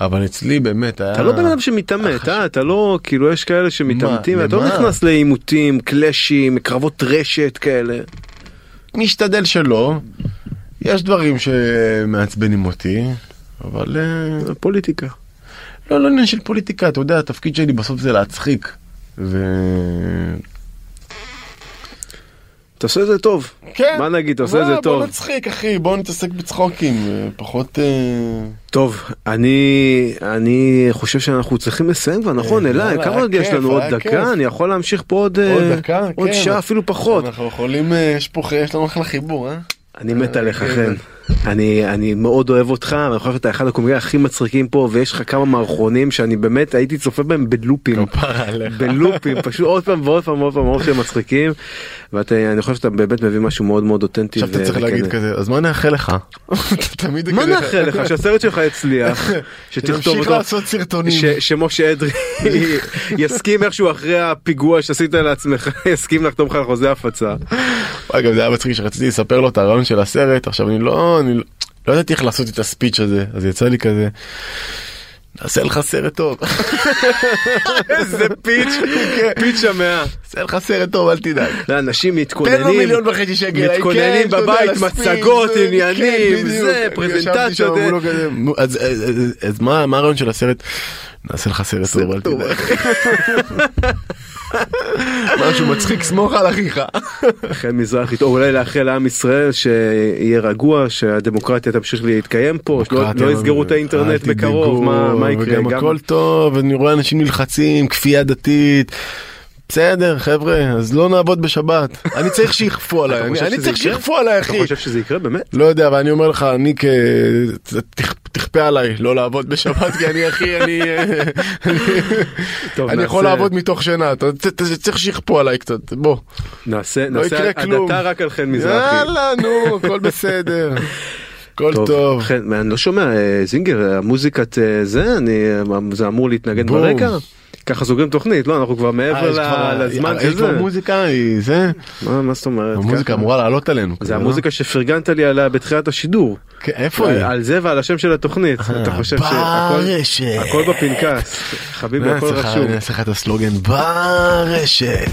אבל אצלי באמת היה...
אתה לא בן אדם שמתעמת, אה? אתה לא, כאילו יש כאלה שמתעמתים,
מה?
אתה לא
למה?
נכנס לעימותים, קלאשים, קרבות רשת כאלה.
משתדל שלא. יש דברים שמעצבנים אותי, אבל... אה,
זה פוליטיקה.
לא, לא עניין של פוליטיקה, אתה יודע, התפקיד שלי בסוף זה להצחיק. ו...
אתה עושה את זה טוב. מה נגיד, אתה עושה את זה
כן. בוא
טוב.
נצחיק, אחי, בוא נתעסק בצחוקים, אה, פחות... אה,
טוב, אני אני חושב שאנחנו צריכים לסיים כבר, נכון,
אה,
אליי,
יאללה,
כמה
היה
עוד יש
כיף,
לנו? עוד
היה
דקה?
כיף.
אני יכול להמשיך פה עוד
עוד
אה,
דקה,
עוד
כן.
שעה, אפילו פחות.
אנחנו יכולים, אה, יש פה, יש לנו אחלה חיבור, אה?
אני מת עליך
כן.
חן. אני אני מאוד אוהב אותך ואני חושב שאתה אחד הקומיקאים הכי מצחיקים פה ויש לך כמה מערכונים שאני באמת הייתי צופה בהם בלופים.
כפרה עליך.
בלופים פשוט עוד פעם ועוד פעם ועוד פעם עוד שהם מצחיקים ואתה אני חושב שאתה באמת מביא משהו מאוד מאוד אותנטי.
עכשיו אתה
ו-
צריך
וכן.
להגיד כזה, אז מה נאחל לך? אתה תמיד...
מה
כזה-
נאחל לך שהסרט שלך יצליח שתכתוב
תמשיך
אותו.
לעשות סרטונים.
ש, שמשה אדרי יסכים איכשהו אחרי הפיגוע שעשית לעצמך יסכים לחתום לך על חוזה הפצה.
וואי, גם זה היה מצחיק שרציתי לספר לו את הרעיון של הסרט, עכשיו אני לא, אני לא- לא ידעתי איך לעשות את הספיץ' הזה, אז יצא לי כזה, נעשה לך סרט טוב,
איזה פיץ', פיץ' המאה.
נעשה לך סרט טוב, אל תדאג.
כן. לא, אנשים מתכוננים.
תן לו מיליון וחצי שקל,
מתכוננים
כן, אתה יודע,
בבית,
לספיץ,
מצגות,
זה-
עניינים,
כן, בדיוק.
זה,
ישבתי
פרזנטציות, אה.
שם,
זה.
לא- מולו כזה, מו- אה, אז- אז אז- אז מה מה הרעיון של הסרט? נעשה לך סרט טוב, אל
טוב.
תדאג. משהו מצחיק, סמוך על אחיך.
חן מזרחי, או אולי לאחל לעם ישראל שיהיה רגוע, שהדמוקרטיה תמשיך להתקיים פה, שלא לא יסגרו את האינטרנט
אל
בקרוב,
תדאגו,
מה מה יקרה,
וגם
גם
הכל טוב, אני רואה אנשים נלחצים, כפייה דתית. בסדר חבר'ה אז לא נעבוד בשבת אני צריך שיכפו עליי
חושב
אני- אני
שזה
צריך
יקרה?
שיכפו עליי
אתה
אחי
חושב שזה יקרה באמת?
לא יודע, אבל אני אומר לך, אני כ... תכ- תכפה עליי לא לעבוד בשבת, כי אני אחי, אני... אה,
טוב,
אני יכול
נעשה-
לעבוד מתוך שינה, אתה אתה- אתה צריך שיכפו עליי קצת, בוא.
נעשה
לא
נעשה
יקרה כלום.
הדתה רק על חן מזרחי.
יאללה, נו, הכל בסדר. הכל טוב.
חן, אה, אני לא שומע, אה, זינגר, המוזיקת אה, זה, אני- זה אמור להתנגן
בום.
ברקע? ככה סוגרים תוכנית לא אנחנו כבר
אה,
מעבר
יש כבר-
ל- לזמן
אה, יש
כזה.
כבר מוזיקה, היא- זה,
מה מה זאת אומרת?
המוזיקה
ככה.
אמורה לעלות עלינו.
זה
כאילו,
המוזיקה אה, שפרגנת לי עליה בתחילת השידור.
לא? כן, איפה היא?
על- על זה ועל השם של התוכנית. אתה חושב שהכל
אה, ברשת. אה,
הכל בפנקס. חביבי אה, הכל
נעשה לך-
רשום.
נעשה לך את הסלוגן ברשת.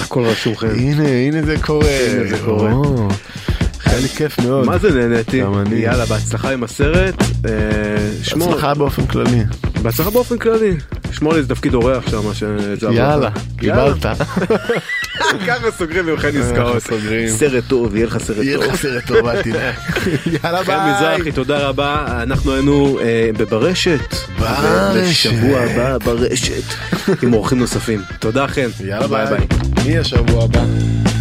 הכל רשום חן.
הנה, הנה זה קורה.
כן. הנה זה קורה.
או, היה לי כיף מאוד.
מה זה נהניתי?
גם אני.
יאללה בהצלחה עם הסרט. אה, שמור.
הצלחה באופן כללי.
בהצלחה באופן כללי. שמור לי איזה תפקיד אורח שם. מה שזה עבוד.
יאללה, קיבלת.
ככה סוגרים עם חן עסקאות.
סוגרים.
סרט טוב, יהיה לך סרט
יהיה לך סרט טוב, אל תדאג. יאללה
חן
ביי.
מזרחי, תודה רבה. אנחנו היינו אה, בברשת.
ברשת.
בשבוע הבא ברשת. עם אורחים נוספים. תודה חן.
יאללה ביי. מי השבוע הבא?